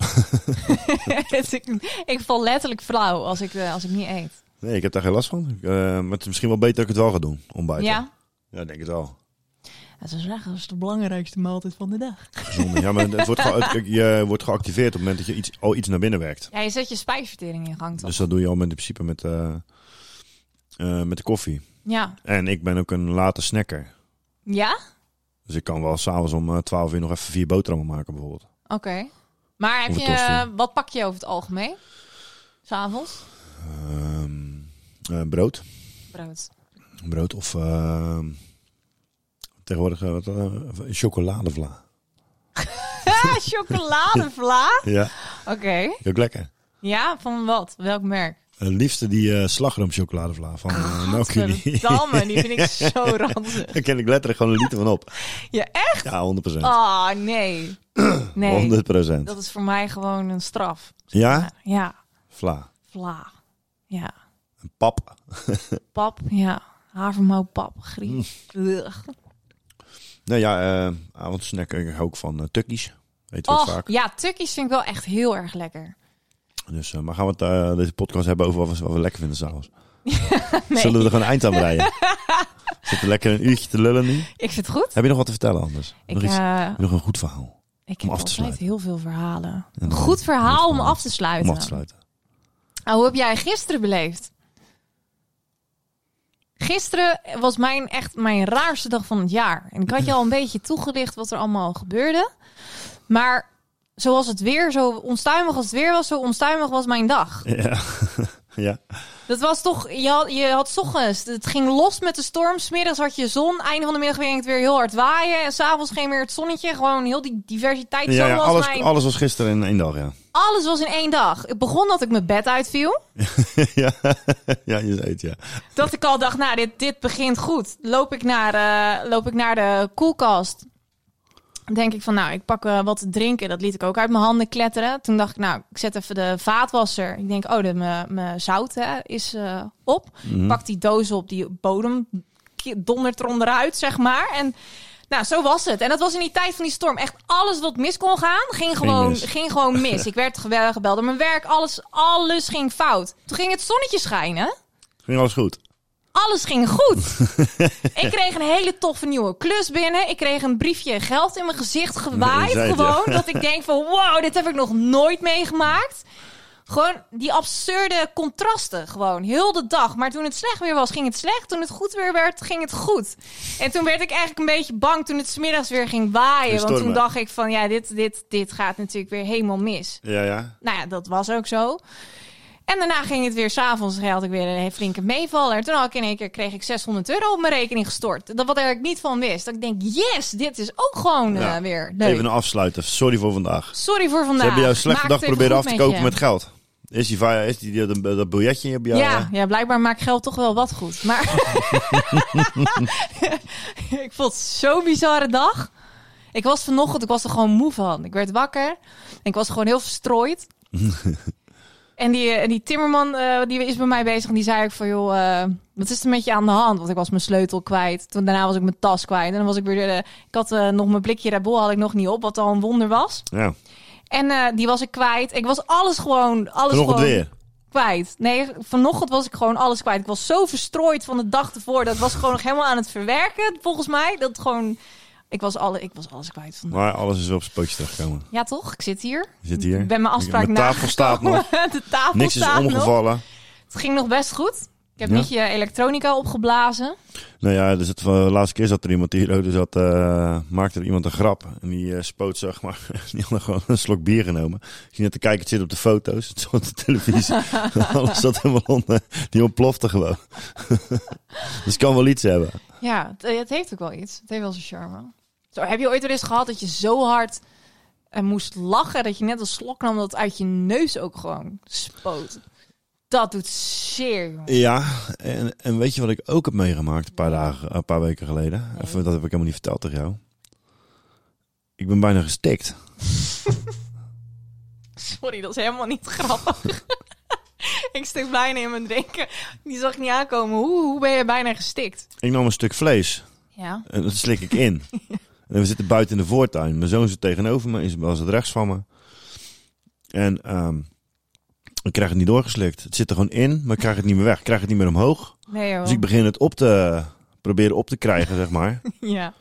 S7: Dus ik, ik val letterlijk flauw als ik, eh, als ik niet eet.
S6: Nee, ik heb daar geen last van. Ik, eh, maar het is misschien wel beter dat ik het wel ga doen. Ontbijten.
S7: Ja?
S6: Ja, ik denk het wel.
S7: Ja, Ze zeggen, dat is de belangrijkste maaltijd van de dag.
S6: Gezonder. Ja, maar het wordt, ge- het- kijk, je wordt geactiveerd op het moment dat je iets, al iets naar binnen werkt.
S7: Ja, je zet je spijsvertering in gang, toch?
S6: Dus dat doe je al met in principe met, eh, eh, met de koffie.
S7: Ja.
S6: En ik ben ook een late snacker.
S7: Ja?
S6: Dus ik kan wel s'avonds om eh, 12 uur nog even vier boterhammen maken bijvoorbeeld.
S7: Oké. Maar heb
S6: Of een
S7: je, eh,
S6: tosti.
S7: wat pak je over het algemeen? S'avonds?
S6: Ehm, eh, brood.
S7: Brood.
S6: Brood of ehm, tegenwoordig eh, wat, eh, chocoladevla.
S7: Ah, chocoladevla?
S6: Ja,
S7: Oké.
S6: ook lekker.
S7: Ja, van wat? Welk merk?
S6: Het liefste die eh, slagroomchocoladevla
S7: Ah,
S6: van uh,
S7: Gadverdamme, die vind ik zo ranzig.
S6: Daar ken ik letterlijk gewoon een liter van op.
S7: Ja, echt?
S6: Ja, 100%.
S7: Ah, nee. Nee,
S6: 100%.
S7: dat is voor mij gewoon een straf.
S6: Ja?
S7: Ja,
S6: Vla.
S7: vla. Ja.
S6: Een pap.
S7: Pap, ja. Havermoutpap,
S6: Mm.
S7: griet. Ugh.
S6: Nou ja, eh avondsnack ik hou ook van eh tukkies. Eet we ook
S7: Och,
S6: vaak.
S7: ja, tukkies vind ik wel echt heel erg lekker.
S6: Dus, eh, maar gaan we het, eh, deze podcast hebben over wat we, wat we lekker vinden s'avonds?
S7: Nee,
S6: Zullen we er gewoon een eind aan breien? Zitten lekker een uurtje te lullen nu?
S7: ik vind het goed.
S6: Heb je nog wat te vertellen anders?
S7: Ik,
S6: nog, iets,
S7: eh,
S6: nog een goed verhaal
S7: Ik
S6: Om af te
S7: heb altijd
S6: sluiten.
S7: heel veel verhalen.
S6: dan-
S7: Een goed verhaal om
S6: dan-
S7: af te sluiten.
S6: om af te sluiten.
S7: Ah, hoe heb jij gisteren beleefd? Gisteren was mijn echt mijn raarste dag van het jaar. En ik had je al een beetje toegelicht wat er allemaal gebeurde. Maar zoals het weer, zo onstuimig als het weer was, zo onstuimig was mijn dag.
S6: Ja. ja.
S7: Dat was toch, je had, je had 's ochtends, het ging los met de storm. Smiddags had je zon, einde van de middag ging het weer heel hard waaien. En s'avonds ging weer het zonnetje. Gewoon heel die diversiteit.
S6: ja,
S7: zo
S6: ja,
S7: was
S6: alles,
S7: mijn...
S6: alles was gisteren in één dag, ja.
S7: Alles was in één dag. Het begon dat ik mijn bed uitviel.
S6: ja. ja, je zei het, ja.
S7: Dat ik al dacht, nou, dit, dit begint goed. Loop ik, naar, eh, loop ik naar de koelkast. Denk ik van, nou, ik pak eh, wat te drinken. Dat liet ik ook uit mijn handen kletteren. Toen dacht ik, nou, ik zet even de vaatwasser. Ik denk, oh, de- mijn- mijn zout hè, is eh, op. Ik pak die doos op, die bodem ki- dondert eronderuit, zeg maar. En nou, zo was het. En dat was in die tijd van die storm. Echt alles wat mis kon gaan, ging gewoon
S6: mis.
S7: mis. Ging gewoon mis. ik werd ge- gebeld door mijn werk. Alles, alles ging fout. Toen ging het zonnetje schijnen.
S6: Ging alles goed?
S7: Alles ging goed. ik kreeg een hele toffe nieuwe klus binnen. Ik kreeg een briefje geld in mijn gezicht gewaaid.
S6: Je zei het, ja.
S7: gewoon dat ik denk van wow, dit heb ik nog nooit meegemaakt. Gewoon die absurde contrasten gewoon. Heel de dag. Maar toen het slecht weer was, ging het slecht. Toen het goed weer werd, ging het goed. En toen werd ik eigenlijk een beetje bang toen het smiddags weer ging waaien.
S6: Ging
S7: Want toen
S6: stormen.
S7: dacht ik van ja, dit, dit, dit gaat natuurlijk weer helemaal mis.
S6: Ja, ja.
S7: Nou ja, dat was ook zo. En daarna ging het weer s'avonds, had ik weer een flinke meevaller. Toen had ik in één keer, kreeg ik 600 euro op mijn rekening gestort. Dat wat ik niet van wist. Dat ik denk, yes, dit is ook gewoon eh,
S6: Ja.
S7: weer leuk.
S6: Even een afsluiter. Sorry voor vandaag.
S7: Sorry voor vandaag.
S6: Ze hebben jouw slechte
S7: Maak
S6: dag
S7: het even
S6: proberen af
S7: goed
S6: te kopen
S7: je.
S6: met geld. Is die, va- is die, die- dat, dat biljetje eh? heb je
S7: Ja, ja, blijkbaar maakt geld toch wel wat goed. Maar ik vond het zo'n bizarre dag. Ik was vanochtend, ik was er gewoon moe van. Ik werd wakker en ik was gewoon heel verstrooid. en, die, eh, en die timmerman eh, die is bij mij bezig en die zei ik van... joh, eh, wat is er met je aan de hand? Want ik was mijn sleutel kwijt. Toen, daarna was ik mijn tas kwijt. En dan was ik weer... eh, ik had eh, nog mijn blikje Red Bull had ik nog niet op, wat al een wonder was.
S6: ja.
S7: En eh, die was ik kwijt. Ik was alles gewoon... Alles
S6: Vanochtend
S7: gewoon,
S6: weer.
S7: kwijt. Nee, vanochtend was ik gewoon alles kwijt. Ik was zo verstrooid van de dag ervoor. Dat was gewoon nog helemaal aan het verwerken, volgens mij. Dat gewoon... Ik was, alle, ik was alles kwijt van.
S6: Maar alles is weer op zijn pootjes terechtgekomen.
S7: Ja, toch? Ik zit hier.
S6: Je zit hier.
S7: Ik ben mijn afspraak
S6: Mijn tafel staat
S7: nagekomen.
S6: nog.
S7: De tafel
S6: Niks is
S7: staat nog.
S6: omgevallen.
S7: Het ging nog best goed. Ik heb
S6: Ja.
S7: niet je elektronica opgeblazen.
S6: Nou ja, dus het, de laatste keer zat er iemand die hier zat, eh, maakte er iemand een grap. En die eh, spoot, zeg maar, die had gewoon een slok bier genomen. Ik zie net te kijken, het zit op de foto's, het zat op de televisie. Alles zat helemaal onder, die ontplofte gewoon. dus het kan wel iets hebben.
S7: Ja, het, het heeft ook wel iets. Het heeft wel zijn charme. Zo, heb je ooit wel eens gehad dat je zo hard eh, moest lachen dat je net een slok nam dat het uit je neus ook gewoon spoot? Dat doet zeer, jongen.
S6: Ja, en, en weet je wat ik ook heb meegemaakt een paar, dagen, een paar weken geleden? Even, dat heb ik helemaal niet verteld tegen jou. Ik ben bijna gestikt.
S7: Sorry, dat is helemaal niet grappig. ik stik bijna in mijn drinken. Die zag ik niet aankomen. Hoe, hoe ben je bijna gestikt?
S6: Ik nam een stuk vlees.
S7: Ja.
S6: En dat slik ik in. en we zitten buiten in de voortuin. Mijn zoon zit tegenover me, Isabel zit rechts van me. En ehm, ik krijg het niet doorgeslikt. Het zit er gewoon in, maar ik krijg het niet meer weg. Ik krijg het niet meer omhoog.
S7: Nee joh.
S6: Dus ik begin het op te proberen op te krijgen, zeg maar.
S7: Ja.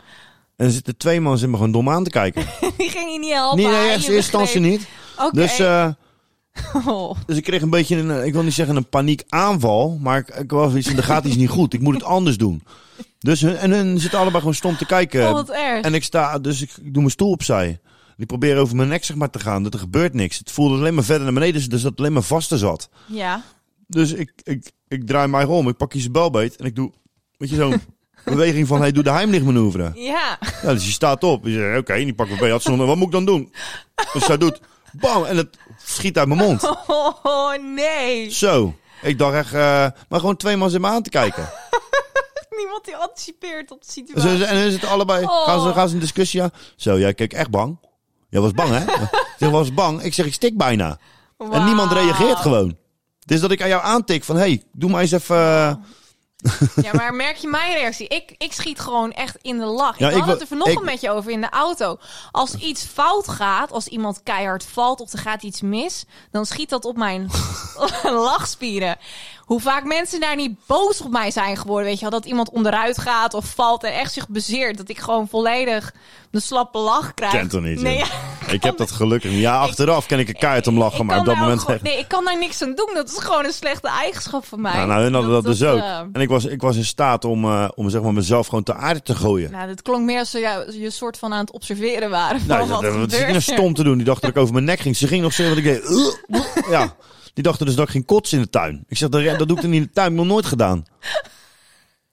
S6: En er zitten twee man in me gewoon dom aan te kijken.
S7: Die ging je niet helpen.
S6: niet in
S7: Hij
S6: eerste
S7: je
S6: eerste instantie
S7: begreep.
S6: niet.
S7: Oké.
S6: Dus, eh,
S7: Oh.
S6: dus ik kreeg een beetje een, eh, ik wil niet zeggen een paniekaanval, maar ik, ik was iets, er gaat iets niet goed. Ik moet het anders doen. Dus hun, en hun zitten allebei gewoon stom te kijken.
S7: Oh, wat erg.
S6: eh, En ik sta, dus ik doe mijn stoel opzij. Die proberen over mijn nek zeg maar te gaan. Dat er gebeurt niks. Het voelde alleen maar verder naar beneden. Dus dus dat het alleen maar vaster zat.
S7: Ja.
S6: Dus ik, ik, ik draai mij om. Ik pak Isabel beet. En ik doe, weet je, zo'n beweging van... Hey, doe de heimlichtmanoeuvre.
S7: Ja.
S6: Ja, dus je staat op. Je zegt, oké, die pak me beet. Had ze nog- Wat moet ik dan doen? Dus zij doet, bam. En het schiet uit mijn mond.
S7: Oh nee.
S6: Zo. Ik dacht echt... eh, maar gewoon twee man in me aan te kijken.
S7: Niemand die anticipeert op de
S6: En ze-
S7: situatie.
S6: ze- en hun zitten allebei.
S7: Oh.
S6: Gaan, ze, gaan ze een discussie aan? Zo, jij keek echt bang. Jij was bang, hè? Ik zeg, was bang. Ik zeg, ik stik bijna. En niemand
S7: Wauw.
S6: reageert gewoon. Dus dat ik aan jou aantik van, hey, doe maar eens even... eh,
S7: Ja, maar merk je mijn reactie? Ik, ik schiet gewoon echt in de lach.
S6: Ja,
S7: ik
S6: ik
S7: had
S6: wil-
S7: het er vanochtend
S6: ik-
S7: met je over in de auto. Als iets fout gaat, als iemand keihard valt of er gaat iets mis, dan schiet dat op mijn lachspieren. Hoe vaak mensen daar niet boos op mij zijn geworden. Weet je wel, dat iemand onderuit gaat of valt en echt zich bezeert. Dat ik gewoon volledig een slappe lach krijg.
S6: kent er niet.
S7: Nee,
S6: joh.
S7: ja.
S6: Ik heb dat gelukkig niet. Ja, achteraf ken ik een kaart om lachen,
S7: Ik
S6: maar
S7: kan
S6: op dat
S7: daar ook
S6: moment...
S7: gewoon-
S6: echt-
S7: nee, ik kan daar niks aan doen. Dat is gewoon een slechte eigenschap van mij.
S6: nou, nou, hun hadden dat, dus ook.
S7: eh,
S6: En ik was, ik was in staat om, eh, om zeg maar, mezelf gewoon te aarde te gooien.
S7: Nou, dit klonk meer als ze jou, je soort van aan het observeren waren. Van
S6: Nou,
S7: wat
S6: dat, dat, dat
S7: gebeurt
S6: zit je nou
S7: er?
S6: stom te doen. Die dacht dat ik over mijn nek ging. Ze ging nog zeggen dat ik deed. "Ugh, ugh." Ja. Die dachten dus dat ik ging kotsen in de tuin. Ik zeg, dat, dat doe ik dan niet in de tuin. Heb ik nog nooit gedaan.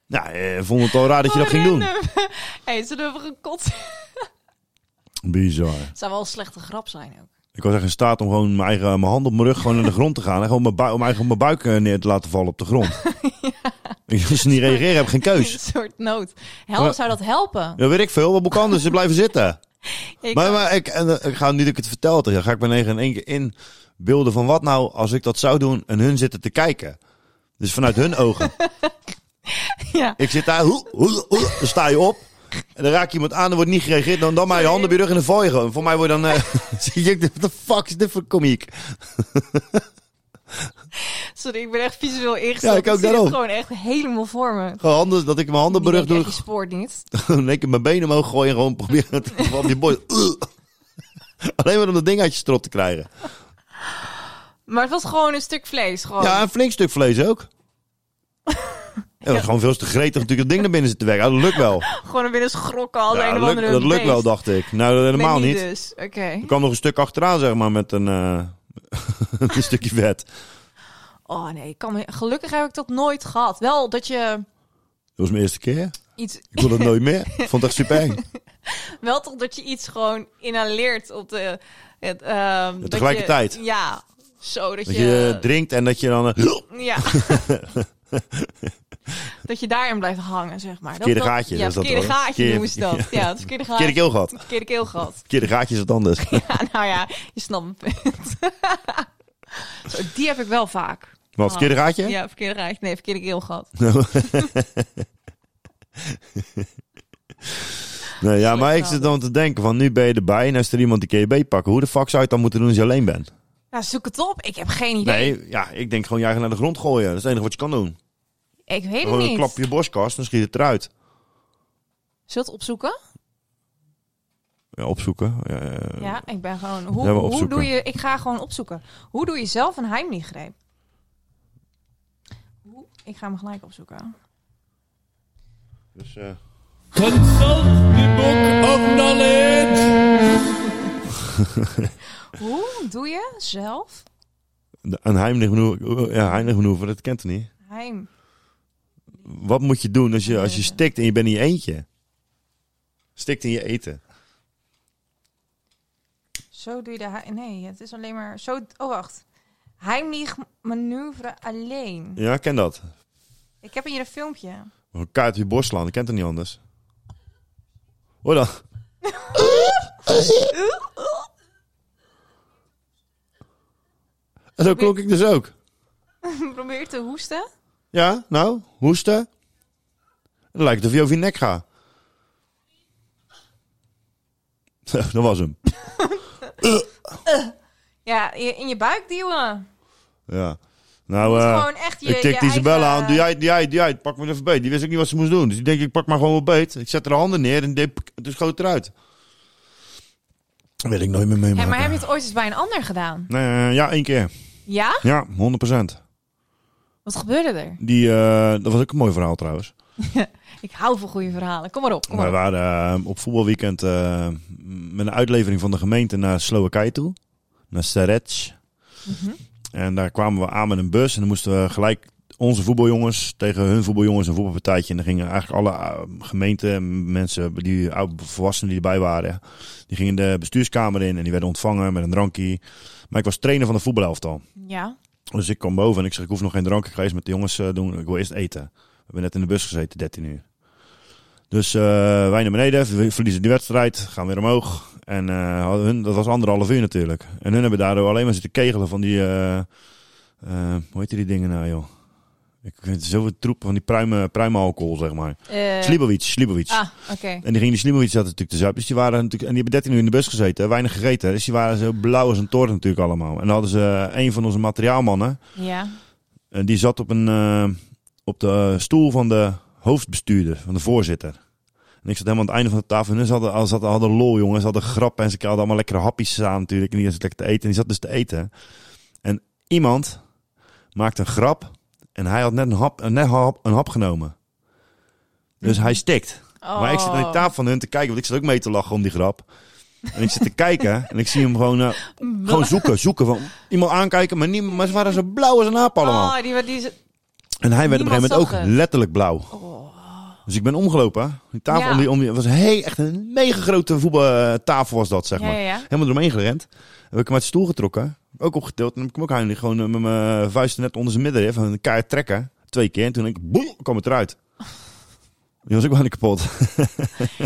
S6: Nou, eh, vond het al raar dat je dat ging doen.
S7: Random. hey, ze hebben gekot.
S6: Bizar.
S7: Het zou wel een slechte grap zijn ook.
S6: Ik was echt in staat om gewoon mijn, eigen, mijn hand op mijn rug gewoon naar de grond te gaan. En gewoon mijn, bui- om mijn, eigen- mijn buik eh, neer te laten vallen op de grond. Ik Als ze niet reageren, heb ik geen
S7: Een
S6: keus.
S7: soort nood. Help, zou dat helpen?
S6: Ja, weet ik veel. Wat moet ik anders? Ze blijven zitten.
S7: Ik-
S6: Maar, maar ik, en, eh, ik ga nu dat ik het vertel tegen jou, ga ik mijn eigen in één keer inbeelden van wat nou als ik dat zou doen en hun zitten te kijken. Dus vanuit hun ogen.
S7: ja.
S6: Ik zit daar, hoe, hoe, hoe, dan sta je op. En dan raak je iemand aan, er wordt niet gereageerd. Dan, dan maar je handen bij je rug en dan val je gewoon. Voor mij word je dan... eh, zie je, what the fuck is dit voor komiek?
S7: Sorry, ik ben echt visueel ingesteld.
S6: Ja, ik ook
S7: zie het
S6: daarom.
S7: gewoon echt helemaal voor me.
S6: Gewoon handen, dat ik mijn handen op mijn rug
S7: Die
S6: doe.
S7: spoort niet.
S6: Gewoon een keer mijn benen omhoog gooien en gewoon proberen het op je bord. Alleen maar om dat ding uit je strot te krijgen.
S7: Maar het was gewoon een stuk vlees. Gewoon.
S6: Ja, een flink stuk vlees ook. Ja, dat is gewoon veel te gretig natuurlijk dat ding naar binnen zitten werken. Ja, dat lukt wel.
S7: Gewoon er binnen schrokken als
S6: Ja,
S7: een
S6: dat
S7: of
S6: lukt,
S7: andere
S6: dat lukt wel,
S7: beest.
S6: dacht ik. Nou, dat helemaal
S7: Nee,
S6: niet.
S7: dus. Oké.
S6: Er kwam nog een stuk achteraan, zeg maar, met een, eh, een stukje vet.
S7: Oh nee, ik kan me, gelukkig heb ik dat nooit gehad. Wel dat je
S6: was mijn eerste keer.
S7: iets,
S6: Ik wil dat nooit meer. Ik vond het echt super eng.
S7: wel toch dat je iets gewoon inhaleert op de. Het, ehm, dat je-
S6: tegelijkertijd.
S7: ja, zo dat,
S6: Dat
S7: je.
S6: je drinkt en dat je dan... eh,
S7: ja. dat je daarin blijft hangen, zeg maar.
S6: Verkeerde
S7: dat,
S6: gaatje,
S7: Ja,
S6: dat is dat
S7: verkeerde
S6: wel.
S7: gaatje
S6: Verkeer-
S7: noemen ze dat. Ja, het verkeerde gaatje.
S6: Verkeerde keelgat.
S7: Verkeerde keelgat.
S6: Verkeerde gaatje is wat anders.
S7: Ja, nou ja, je snapt mijn punt. Zo, die heb ik wel vaak.
S6: Wat, verkeerde gaatje?
S7: Ja, verkeerde raadje. Nee, verkeerde keelgat.
S6: Nee, ja, maar ik zit dan te denken van nu ben je erbij en is er iemand die KB pakken. Hoe de fuck zou je het dan moeten doen als je alleen bent?
S7: Ja, zoek het op. Ik heb geen idee.
S6: Nee, ja, ik denk gewoon je eigen naar de grond gooien. Dat is het enige wat je kan doen.
S7: Ik weet het
S6: Gewoon Oh, een
S7: niet.
S6: klap op je borstkast en schiet het eruit.
S7: Zult opzoeken?
S6: Ja, opzoeken. Eh,
S7: Ja, ik ben gewoon. Hoe,
S6: Ja, maar
S7: hoe
S6: opzoeken.
S7: doe je. Ik ga gewoon opzoeken. Hoe doe je zelf een heimliegreep? Hoe- Ik ga hem gelijk opzoeken.
S6: dus, eh,
S5: Consult the book of knowledge.
S7: Hoe doe je zelf
S6: de- een heimlich manoeuvre, ja, heimlich manoeuvre, dat kent het niet.
S7: heim?
S6: Wat moet je doen als je, als je stikt en je bent in je eentje? Stikt in je eten.
S7: Zo doe je de. hei- Nee, het is alleen maar. Zo... Oh, wacht. Heimlich manoeuvre alleen.
S6: Ja, ken dat.
S7: Ik heb hier een filmpje.
S6: Een kaart op je borst slaan, dat kent het niet anders. Hoor dan. En zo klonk ik dus ook.
S7: Probeer te hoesten.
S6: Ja, nou, hoesten. Het lijkt of je over je nek gaat. Zo, Dat was hem.
S7: Ja, je- in je buik duwen.
S6: Ja. Nou,
S7: moet
S6: eh,
S7: gewoon echt je-
S6: ik tik
S7: je
S6: die Isabella
S7: eigen-
S6: aan. Doe jij, doe jij, doe jij. Pak me even beet. Die wist ook niet wat ze moest doen. Dus ik denk, ik pak maar gewoon wel beet. Ik zet haar handen neer en deed, dus schoot eruit. Dat wil ik nooit meer meemaken.
S7: Hé, maar heb je het ooit eens bij een ander gedaan?
S6: Nee, eh, ja, één keer.
S7: Ja?
S6: Ja, 100%.
S7: Wat gebeurde er?
S6: Die, eh, dat was ook een mooi verhaal trouwens.
S7: Ik hou van goede verhalen. Kom maar op. Kom maar
S6: Wij
S7: op.
S6: waren eh, op voetbalweekend eh, met een uitlevering van de gemeente naar Slowakije toe. Naar Serec. En daar kwamen we aan met een bus. En dan moesten we gelijk onze voetbaljongens tegen hun voetbaljongens een voetbalpartijtje. En dan gingen eigenlijk alle eh, gemeenten, mensen, die oude volwassenen die erbij waren. Die gingen de bestuurskamer in en die werden ontvangen met een drankje. Maar ik was trainer van de voetbalelftal.
S7: Ja.
S6: Dus ik kwam boven en ik zeg, ik hoef nog geen drank. Ik ga eerst met de jongens eh, doen. Ik wil eerst eten. We hebben net in de bus gezeten, 13 uur. Dus eh, wij naar beneden, ver- verliezen die wedstrijd, gaan weer omhoog. En eh, hadden hun, dat was anderhalf uur natuurlijk. En hun hebben daardoor alleen maar zitten kegelen van die... eh, eh, hoe heet die dingen nou, joh? Ik vind zoveel troep van die pruimen, pruimenalcohol, zeg maar.
S7: Eh,
S6: Slibovic, Slibovic.
S7: ah, oké.
S6: En die gingen die Slimovic zaten natuurlijk te zuipen. Dus die waren natuurlijk, en die hebben 13 uur in de bus gezeten, weinig gegeten. Dus die waren zo blauw als een toren natuurlijk allemaal. En dan hadden ze eh, een van onze materiaalmannen,
S7: Ja.
S6: en die zat op, een, eh, op de eh, stoel van de hoofdbestuurder, van de voorzitter. En ik zat helemaal aan het einde van de tafel. En ze hadden, al- ze hadden, hadden lol, jongens. Ze hadden grappen en ze hadden allemaal lekkere hapjes aan natuurlijk. En die zat lekker te eten. En die zat dus te eten. En iemand maakte een grap. En hij had net een hap, net een hap, een hap genomen. Dus hij stikt.
S7: Oh.
S6: Maar ik zit aan die tafel van hun te kijken. Want ik zat ook mee te lachen om die grap. En ik zit te kijken. En ik zie hem gewoon, eh, gewoon zoeken. Zoeken van iemand aankijken. Maar, niet, maar ze waren zo blauw als een aap allemaal.
S7: Oh, die, die, die,
S6: En hij werd op een
S7: Niemand
S6: gegeven moment
S7: zag
S6: ook
S7: het. Oh.
S6: letterlijk blauw. Dus ik ben omgelopen. Die tafel
S7: Ja.
S6: om die, om die, was hey, echt een mega grote voetbaltafel was dat, zeg
S7: Ja,
S6: maar.
S7: ja, ja.
S6: Helemaal eromheen gerend. Heb ik hem uit de stoel getrokken. Ook opgetild. En heb ik hem ook huilen gewoon eh, met mijn vuisten net onder zijn middenrif. En een keihard trekken. Twee keer. En toen denk ik, boem, kwam het eruit. Die was ook wel kapot.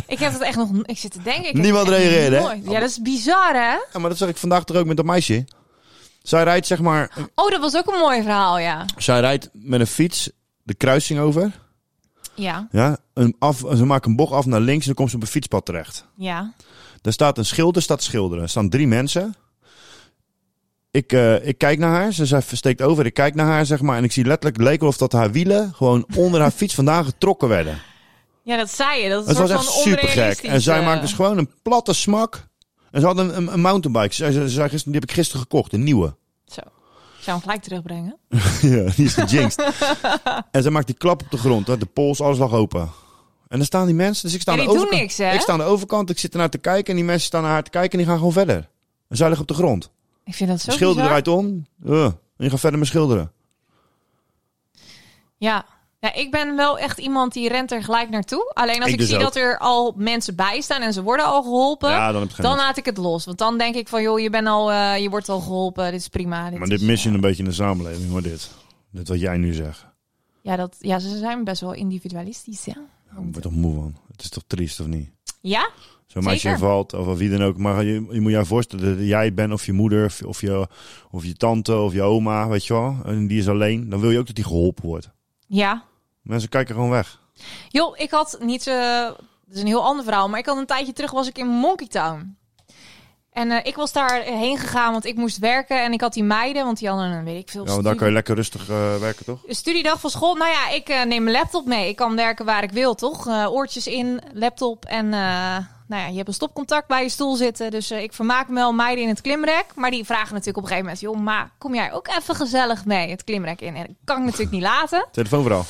S7: ik heb het echt nog... Ik zit te denken. Ik heb
S6: Niemand
S7: het echt
S6: reageerde, hè? Oh.
S7: nooit- Ja, dat is bizar, hè?
S6: Ja, maar dat zag ik vandaag toch ook met dat meisje. Zij rijdt, zeg maar,
S7: Oh, dat was ook een mooi verhaal, ja.
S6: zij rijdt met een fiets de kruising over.
S7: Ja,
S6: Ja, een af, ze maakt een bocht af naar links en dan komt ze op een fietspad terecht.
S7: ja.
S6: Daar staat een schilder, staat te schilderen. Er staan drie mensen. Ik, eh, ik kijk naar haar, ze zei- steekt over, ik kijk naar haar, zeg maar. En ik zie letterlijk, het leek wel of dat haar wielen gewoon onder haar fiets vandaan getrokken werden.
S7: Ja, dat zei je. Dat is
S6: Het
S7: een
S6: was
S7: soort
S6: echt
S7: van eh.
S6: super gek.
S7: onrealistische-
S6: En zij maakt dus gewoon een platte smak. En ze had een, een, een mountainbike. Ze, ze, ze zei gisteren, die heb ik gisteren gekocht, een nieuwe.
S7: Zo. Ik zou hem gelijk terugbrengen.
S6: Ja, die is gejinxed. en zij maakt die klap op de grond. hè. De pols, alles lag open. En dan staan die mensen. Dus ik sta
S7: Ja,
S6: aan de
S7: die doen
S6: overkant.
S7: niks, hè?
S6: Ik sta aan de overkant. Ik zit ernaar te kijken. En die mensen staan naar haar te kijken. En die gaan gewoon verder. En zij liggen op de grond.
S7: Ik vind dat zo
S6: Schilder
S7: bizar.
S6: eruit om. eh, en je gaat verder met schilderen.
S7: Ja. Ja, ik ben wel echt iemand die rent er gelijk naartoe. Alleen als
S6: Ik
S7: ik,
S6: dus
S7: zie
S6: ook.
S7: dat er al mensen bij staan en ze worden al geholpen,
S6: Ja, dan heb je geen nut.
S7: laat ik het los. Want dan denk ik van, joh, je, bent al, eh, je wordt al geholpen, dit is prima. Dit
S6: Maar dit
S7: is,
S6: mis je een beetje in de samenleving hoor, dit. Dit wat jij nu zegt.
S7: ja, dat, ja, ze zijn best wel individualistisch, ja.
S6: Ja, Ik word toch moe van. Het is toch triest of niet?
S7: Ja?
S6: Zo'n meisje
S7: Zeker.
S6: valt of, of wie dan ook. Maar je, je moet je voorstellen dat jij het bent of je moeder of, of, je, of je tante of je oma, weet je wel. En die is alleen. Dan wil je ook dat die geholpen wordt.
S7: Ja.
S6: Mensen kijken gewoon weg.
S7: Joh, ik had niet... eh dat is een heel ander verhaal, maar ik had een tijdje terug was ik in Monkey Town. En eh, ik was daar heen gegaan, want ik moest werken. En ik had die meiden, want die hadden een, weet ik veel,
S6: Ja, want daar
S7: studie-
S6: kan je lekker rustig eh, werken, toch?
S7: Een studiedag van school. Nou ja, ik eh, neem mijn laptop mee. Ik kan werken waar ik wil, toch? Eh, oortjes in, laptop en... eh, nou ja, je hebt een stopcontact bij je stoel zitten. Dus eh, ik vermaak me wel meiden in het klimrek. Maar die vragen natuurlijk op een gegeven moment... joh, ma, kom jij ook even gezellig mee het klimrek in? En dat kan ik natuurlijk niet laten.
S6: Telefoon vooral.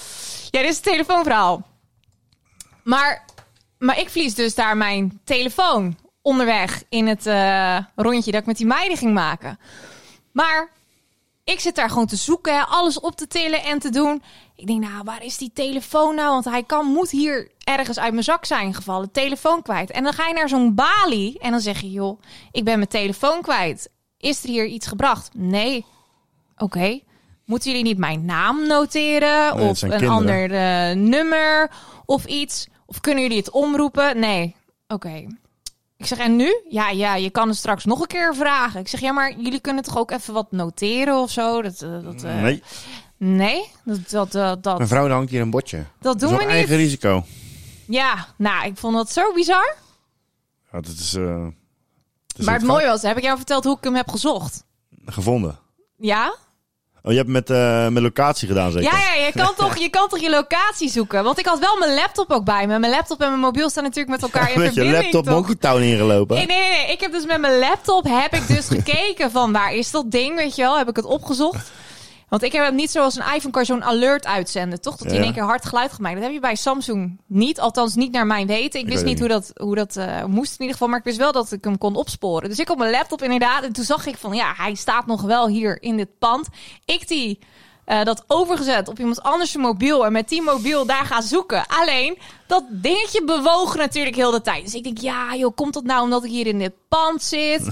S7: Ja, dit is het telefoonverhaal. Maar, maar ik verlies dus daar mijn telefoon onderweg in het eh, rondje dat ik met die meiden ging maken. Maar ik zit daar gewoon te zoeken, hè, alles op te tillen en te doen. Ik denk, nou, waar is die telefoon nou? Want hij kan, moet hier ergens uit mijn zak zijn gevallen. Telefoon kwijt. En dan ga je naar zo'n balie en dan zeg je, joh, ik ben mijn telefoon kwijt. Is er hier iets gebracht? Nee. Oké. Moeten jullie niet mijn naam noteren?
S6: Nee, het
S7: of een
S6: zijn kinderen.
S7: ander eh, nummer of iets? Of kunnen jullie het omroepen? Nee. Oké. Ik zeg, en nu? Ja, ja, je kan het straks nog een keer vragen. Ik zeg, ja, maar jullie kunnen toch ook even wat noteren of zo? Dat, eh, dat, eh,
S6: Nee.
S7: Nee, dat, dat, eh, dat, dat,
S6: Mijn vrouw hangt hier een bordje.
S7: dat doen
S6: is
S7: we
S6: op
S7: niet.
S6: eigen risico.
S7: Ja, nou, ik vond dat zo bizar.
S6: Ja, dat is... eh, dat is
S7: maar
S6: een
S7: het mooie was, heb ik jou verteld hoe ik hem heb gezocht?
S6: fout Gevonden.
S7: Ja?
S6: Oh, je hebt met, eh, met locatie gedaan, zeker?
S7: Ja, ja je, kan toch, je kan toch je locatie zoeken? Want ik had wel mijn laptop ook bij me. Mijn laptop en mijn mobiel staan natuurlijk met elkaar in
S6: Met je
S7: verbinding.
S6: laptop
S7: toch?
S6: Monkey Town ingelopen.
S7: Nee, nee, nee, nee. Ik heb dus met mijn laptop heb ik dus gekeken van waar is dat ding, weet je wel? Heb ik het opgezocht? Want ik heb hem niet zoals een iPhone kan zo'n alert uitzenden, toch? Dat hij in
S6: Ja.
S7: één keer hard geluid gemaakt. Dat heb je bij Samsung niet, althans niet naar mijn weten. Ik
S6: Ik
S7: wist
S6: weet
S7: niet
S6: het
S7: hoe dat, hoe dat eh, moest in ieder geval, maar ik wist wel dat ik hem kon opsporen. Dus ik op mijn laptop inderdaad, en toen zag ik van ja, hij staat nog wel hier in dit pand. Ik die eh, dat overgezet op iemand anders zijn mobiel en met die mobiel daar gaan zoeken. Alleen dat dingetje bewoog natuurlijk heel de tijd. Dus ik denk, ja, joh, komt dat nou omdat ik hier in dit pand zit?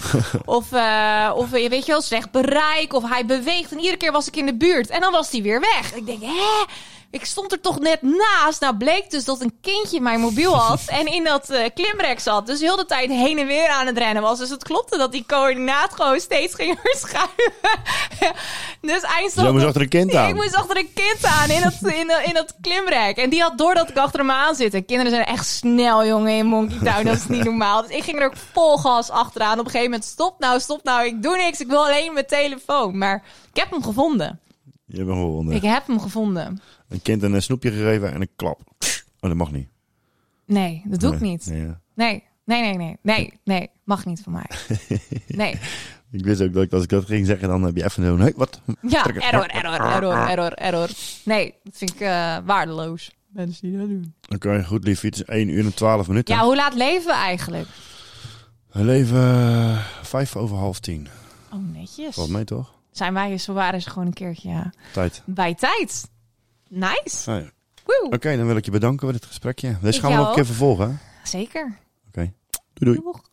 S7: of, eh, of eh, weet je wel, slecht bereik. Of hij beweegt. En iedere keer was ik in de buurt. En dan was hij weer weg. Ik denk, hè? Ik stond er toch net naast. Nou bleek dus dat een kindje mijn mobiel had en in dat eh, klimrek zat. Dus heel de tijd heen en weer aan het rennen was. Dus het klopte dat die coördinaat gewoon steeds ging verschuiven. dus
S6: Dus jij
S7: eindstand.
S6: moest achter een kind
S7: Ik
S6: aan.
S7: moest achter een kind aan in dat, in, dat- in dat klimrek. En die had door dat ik achter hem aan zit. En kinderen zijn echt snel, jongen, in Monkey Town. Dat is niet normaal. Dus ik ging er ook vol gas achteraan. Op een gegeven moment, stop nou, stop nou. Ik doe niks. Ik wil alleen mijn telefoon. Maar ik heb hem gevonden.
S6: Je bent gewonnen.
S7: Ik heb hem gevonden.
S6: Een kind een eh, snoepje gegeven en een klap. Oh, dat mag niet.
S7: Nee, dat doe ik
S6: Nee,
S7: niet.
S6: nee, ja.
S7: Nee, nee, nee, nee. Nee, nee. Mag niet van mij. Nee.
S6: Ik wist ook dat ik, als ik dat ging zeggen, dan heb je even zo'n... Hey, wat?
S7: Ja,
S6: Trekken.
S7: error, error, error, error, error. Nee, dat vind ik eh, waardeloos. Mensen die dat doen.
S6: Oké, goed lief. Het is 1 uur en 12 minuten.
S7: Ja, hoe laat leven we eigenlijk?
S6: We leven eh, vijf over half tien.
S7: Oh, netjes.
S6: Valt mee, toch?
S7: Zijn wij eens, zo waren ze gewoon een keertje ja,
S6: Tijd.
S7: bij tijd. Nice.
S6: Ah, ja. Oké,
S7: Woe.
S6: dan wil ik je bedanken voor dit gesprekje. Deze
S7: Ik
S6: gaan we
S7: jou
S6: nog een keer
S7: ook.
S6: vervolgen. hè? Oké.
S7: Zeker.
S6: Doei doei.
S7: Doeg.